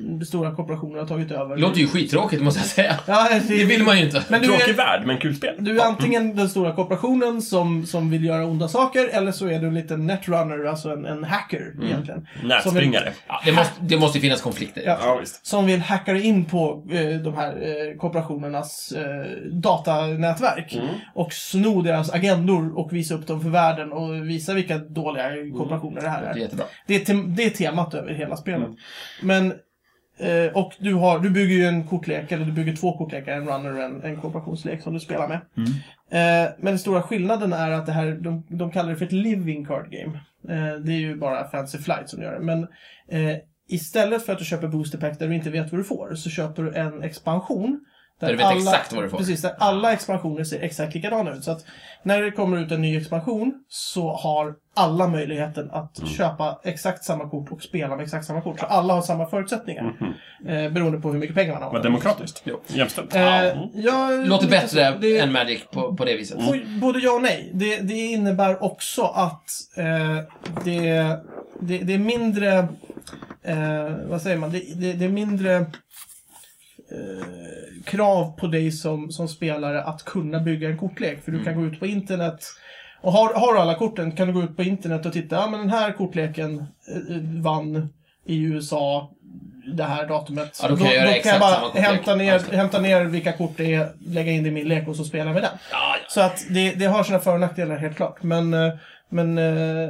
Mm. stora korporationer har tagit över. Det låter ju skittråkigt måste jag säga. Ja, det, Det vill man ju inte. Men du Tråkig är- värld, men kul spel. du är antingen den stora korporationen som, som vill göra onda saker eller så är du en liten netrunner, alltså en, en hacker egentligen. Som vill, Nätspringare. Ja, det, måste, det måste ju finnas konflikter. Ja. Ja, visst. som vill hacka dig in på eh, de här eh, korporationernas eh, datanätverk och sno deras agendor och visa upp dem för världen och visa vilka dåliga korporationer det här Det är är. jättebra. Det är, tem- det är temat över hela Mm. spelet. Men eh, och du, har, du bygger ju en kortlek, eller du bygger två kortlekar, en runner och en, en korporationslek som du spelar med. Mm. Eh, men den stora skillnaden är att det här, de, de kallar det för ett living card game. Eh, det är ju bara Fancy Flight som gör det. Men eh, istället för att du köper booster pack där du inte vet vad du får, så köper du en expansion. Där du vet exakt vad du får. Precis, där alla expansioner ser exakt likadana ut. Så att när det kommer ut en ny expansion så har alla möjligheten att köpa exakt samma kort och spela med exakt samma kort. Så alla har samma förutsättningar. Eh, beroende på hur mycket pengar man har. Vad demokratiskt. Jo. Jämställt. Eh, Mm. ja, Låter lite bättre så. Mm. Det- än Magic på, på det viset. Oj, Både ja och nej. Det, det innebär också att eh, det, det, det är mindre... Eh, vad säger man? Det, det, det är mindre eh, krav på dig som, som spelare att kunna bygga en kortlek. För du Mm. kan gå ut på internet och har, har du alla korten kan du gå ut på internet och titta. Ja, men den här kortleken eh, eh, vann i USA det här datumet. Ja, då kan jag göra exakt bara samma kortlek. Alltså, hämta Ja, just ner, det. hämta ner vilka kort det är, lägga in det i min lek och så spelar vi den. Ja, Så att det, det har sina för och nackdelar helt klart. Men, eh, men eh,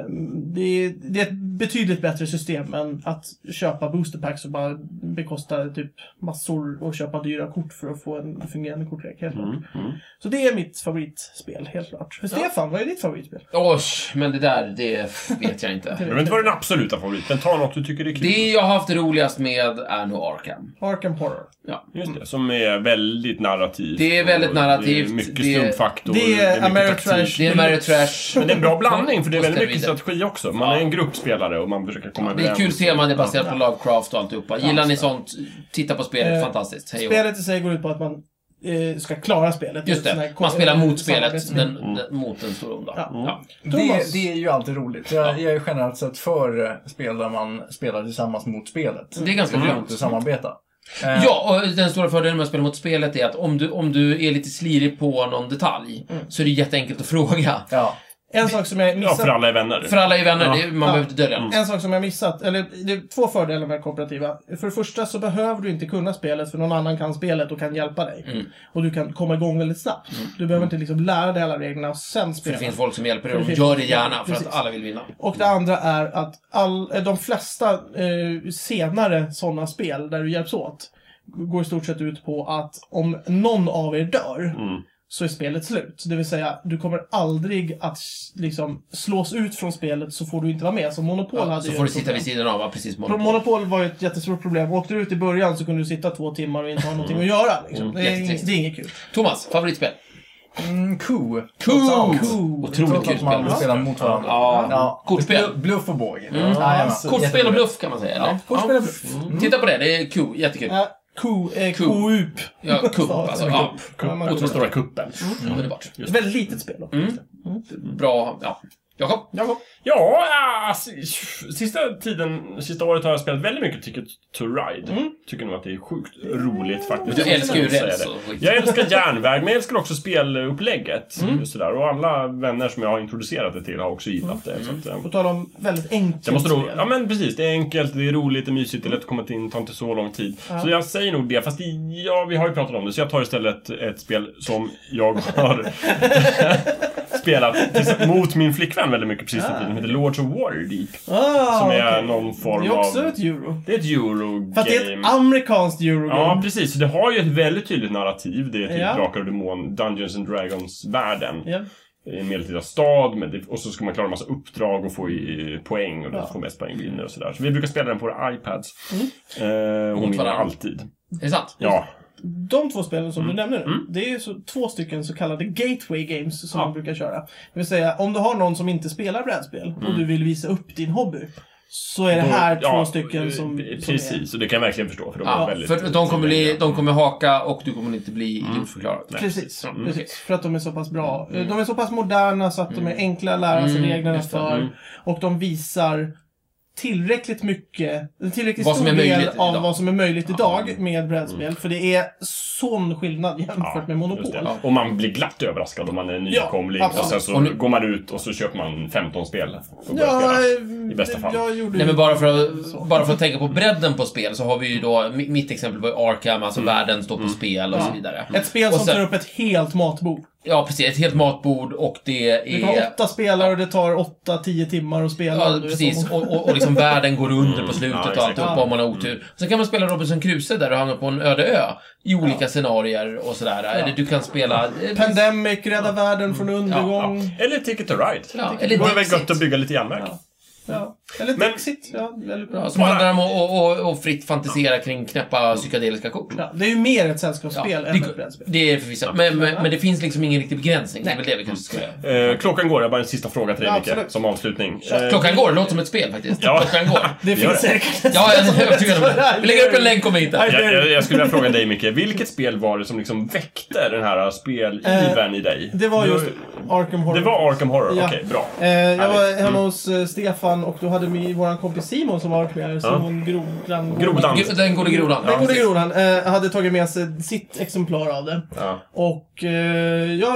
det, det är ett betydligt bättre system än att köpa boosterpacks och bara bekosta typ massor och köpa dyra kort för att få en fungerande kortlek. Helt Mm, klart. Så det är mitt favoritspel, helt klart. Stefan, vad är ditt favoritspel? Oj, men det där, det vet jag inte. Jag vet inte vad din absoluta favorit men ta något du tycker är kul. Det jag har haft roligast med är nog Arkham. Arkham Horror. Ja. Just det, som är väldigt narrativt. Mm. Det är väldigt Och narrativt, Det är mycket det- stumfaktor. det är mycket Ameritrash. taktik. Det är Mary Trash. Men det är en bra blandning, för det är Och väldigt mycket steroider. strategi också. Man är en gruppspelare och man försöker komma Det är ett överens. kul tema, det är baserat på Lovecraft och alltihopa. Gillar ni sånt, titta på spelet, Eh, fantastiskt. Hej och hå. Spelet i sig går ut på att man eh, ska klara spelet. Just Det är ett sånt det, här man spelar mot samarbetsspel. spelet, den, den, mot den stora onda. Ja. Ja. Thomas. Det, det är ju alltid roligt. Jag, jag är generellt sett för eh, spel där man spelar tillsammans mot spelet. Det är ganska Det är skönt. roligt att samarbeta. Eh, Ja, och den stora fördelen med att spela mot spelet är att om du, om du är lite slirig på någon detalj så är det jätteenkelt att fråga. ja. En sak som jag Ja, missat för alla är vänner. För alla är vänner, det, man Ja. behöver inte dölja något. En sak som jag missat, eller det är två fördelar med det kooperativa. För det första så behöver du inte kunna spelet för någon annan kan spelet och kan hjälpa dig. Mm. Och du kan komma igång väldigt snabbt. Du behöver inte liksom lära dig alla reglerna och sen För spela. det finns folk som hjälper dig och de Precis. gör det gärna för Precis. att alla vill vinna. Och det andra är att all, eh, de flesta eh, senare sådana spel där du hjälps åt går i stort sett ut på att om någon av er dör Mm. så är spelet slut. Det vill säga, du kommer aldrig att liksom, slås ut från spelet så får du inte vara med. Som Monopol hade Så ju får du ett sitta problem. vid sidan av, ja, precis. Pro- Monopol. Monopol var ju ett jättestort problem. Åkte du ut i början så kunde du sitta två timmar och inte ha någonting Mm. att göra. Liksom. Det, är inget, Jättetrist. det är inget kul. Thomas, favoritspel? Mm, Coup. Cool! Cool. Otroligt Trots kul att spel. man spelar mot varandra. Ja. Kortspel. Bluff- Bluff och båge. Mm. Jajamän. Kortspel och bluff kan man säga. eller? Kortspel och Mm. Titta på det, det är kul. Jättekul. Äh, ko, eh, Cool. Koup. Ja, kupp alltså. Ja. Mm. Ja, man- Och den stora kuppen. Underbart. Mm. Väldigt litet spel. dock. Bra, ja. Jakob? Jakob? Ja, ah, s- sista tiden, sista året har jag spelat väldigt mycket Ticket to Ride. Tycker nog att det är sjukt roligt faktiskt. Du Jag älskar ju måste säga räls det. och skit. Jag älskar järnväg, men jag älskar också spelupplägget. Just det där. Och alla vänner som jag har introducerat det till har också gillat det. Så att, eh, På tal om väldigt enkelt jag måste nog, spel. ja men precis, det är enkelt, det är roligt, det är mysigt, det är lätt att komma in, tar inte så lång tid. Så jag säger nog det, fast det, ja, vi har ju pratat om det, så jag tar istället ett spel som jag har <laughs> spelat tills- mot min flickvän väldigt mycket precis ah. tiden, som heter Lords of Waterdeep. ah, Som är okej. någon form Det är också av... ett euro. Det är ett eurogame. Fast det är ett amerikanskt eurogame. Ja, precis. Så det har ju ett väldigt tydligt narrativ. Det är typ Ja. Drakar och Demon, Dungeons and Dragons-världen. Ja. I en medeltida stad. Men det, och så ska man klara en massa uppdrag och få i, eh, poäng. Och den Ja. Mm. som får mest poäng vinner och sådär. Så vi brukar spela den på våra iPads. Eh, hon Mot vinner varandra. alltid. Är det sant? Ja. De två spelen som Mm. du nämner nu, det är ju så, två stycken så kallade gateway games som man brukar köra. Det vill säga, om du har någon som inte spelar brädspel och du vill visa upp din hobby, så är det här Mm. Då- två ja, stycken eh, som, som är... Precis, och det kan jag verkligen förstå. För de är Ja, väldigt... för de kommer, bli, de kommer haka och du kommer inte bli idiotförklarad. Nej. Precis, Mm, precis. okej. För att de är så pass bra. De är så pass moderna så att de är enkla att lära sig Mm, reglerna just det. för. Och de visar tillräckligt mycket, en tillräckligt Vad som stor är del möjligt av idag. Mm. vad som är möjligt idag med brädspel. För det är sån skillnad jämfört Ja, med Monopol. just det. Och man blir glatt överraskad om man är nykomling. och absolut. sen så Och nu- går man ut och så köper man 15 spel. och börjar Ja, spela. eh, i bästa fall. Jag gjorde Nej ju- men bara för, Så. att, bara för att tänka på bredden på spel så har vi ju då, mi- mitt exempel var ju Arkham, alltså Mm. världen står på spel och så vidare. Ett spel Och som sen- tar upp ett helt matbord. Ja precis, ett helt matbord och det Det tar är... åtta spelare och det tar åtta, tio timmar att spela. Ja, Du vet, precis. så- Och, och, och liksom världen går under på Mm. ja, slutet och exakt. Mm. alltihopa om man har otur. Sen kan man spela Robinson Crusoe där du hamnar på en öde ö i olika scenarier och sådär. Eller du kan spela... eh, Pandemic, rädda världen från Mm. undergång. Ja. Eller Ticket to Ride. Ja, Det eller vore väl Dixit. gött att bygga lite järnväg. Ja. Ja. Eller Men- Dixit. Ja, väldigt bra. Ja, som Bara- handlar om att och, och, och fritt fantisera kring knäppa psykedeliska kort. Ja, det är ju mer ett sällskapsspel än ett det, brädspel. det är förvisso. Men, men, men det finns liksom ingen riktig begränsning. Det är väl det vi kanske ska göra. Eh, klockan går, jag har bara en sista fråga till dig Ja, Micke, absolut. som avslutning. Eh, Klockan går, det låter som ett spel faktiskt. Ja. Klockan går. Det gör finns <laughs> det. säkert ett Ja, jag spel är som övertygad om det. <laughs> heter Vi lägger upp en länk om vi hittar. jag, jag, jag skulle vilja fråga dig Micke, vilket spel var det som liksom väckte den här spelivern i dig? Eh, Det var Du- just Arkham Horror. Det var Arkham Horror, Ja. okej, bra. Eh, jag var Härligt. Mm. hemma hos eh, Stefan och då hade vi vår kompis Simon som var arkivare, Simon Grogran. Grodan. Gro- Den gode grodan. Den gode precis. Grodan eh, hade tagit med sig sitt exemplar av det. Ja. Och eh, jag,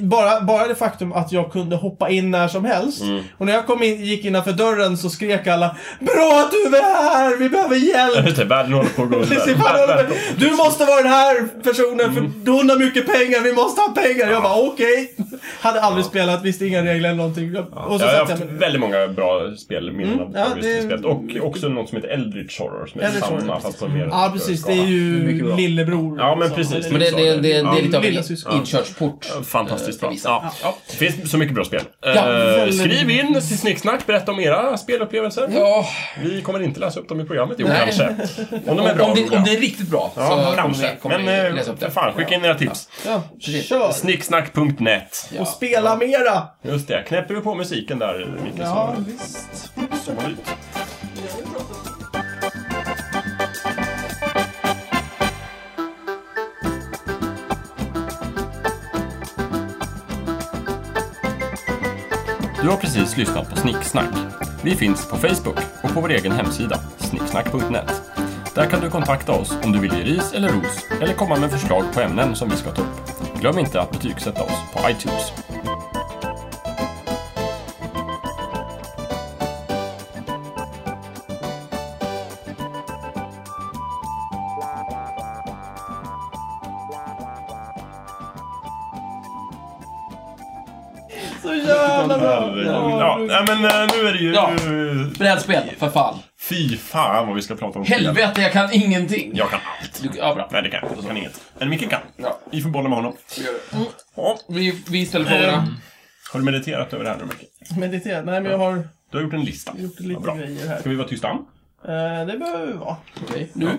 bara, bara det faktum att jag kunde hoppa in när som helst. Mm. Och när jag kom in, gick innanför dörren så skrek alla Bra att du är här! Vi behöver hjälp! <laughs> Just det, världen håller på att gå Det ser fan under. håller på. Du måste vara den här personen för hon har mycket pengar, vi måste ha pengar. Jag bara okej. Hade aldrig spelat, visste inga regler eller någonting. Jag- Och så jag har satt haft jag med. väldigt många bra spelminnen av Mm, ja, av just det det- spelet. Och också något som heter Eldritch Horror, som är Eldritch samma, Horror, fast på en mer Ja precis, det är Det är ju mycket bra. lillebror. Ja, men Så. liksom- precis. Men det, det, det, det är lite av Lilla en syskon. inkörsport. Fantastiskt eh, bra. till vissa. Ja. Ja. Det finns så mycket bra spel. Ja, Eh, väldigt skriv in till Snicksnack, berätta om era spelupplevelser. Ja, Vi kommer inte läsa upp dem i programmet, jo Nej. kanske. Om de är om, bra. om, då det, bra. om det är riktigt bra Ja, så kommer kanske. vi, kommer vi Men läsa upp eh, för det. fan, skicka in era tips. Ja, Precis. kör! Snicksnack.net. Och spela mera! Just det, knäpper vi på musiken där, Micke, Ja, så visst. zoomar vi ut. Du har precis lyssnat på Snicksnack. Vi finns på Facebook och på vår egen hemsida, snicksnack.net. Där kan du kontakta oss om du vill ge ris eller ros eller komma med förslag på ämnen som vi ska ta upp. Glöm inte att betygsätta oss på iTunes. Så jävla bra! Ja, nej, men eh, nu är det ju... Ja. Brädspel, för fan. Fy fan vad vi ska prata om. Helvete, jag kan ingenting. Jag kan allt. Du- Ja, bra. Nej, det kan jag inte. Jag kan inget. Men Micke kan. Ja. Vi får bolla med honom. Ja. Vi, vi ställer frågorna. Ehm. Har du mediterat över det här nu, Micke? Meditera. Nej, men jag har Du har gjort en lista. gjort lite bra. grejer här. Ska vi vara tysta? Eh, det behöver vi vara. Okej, nu.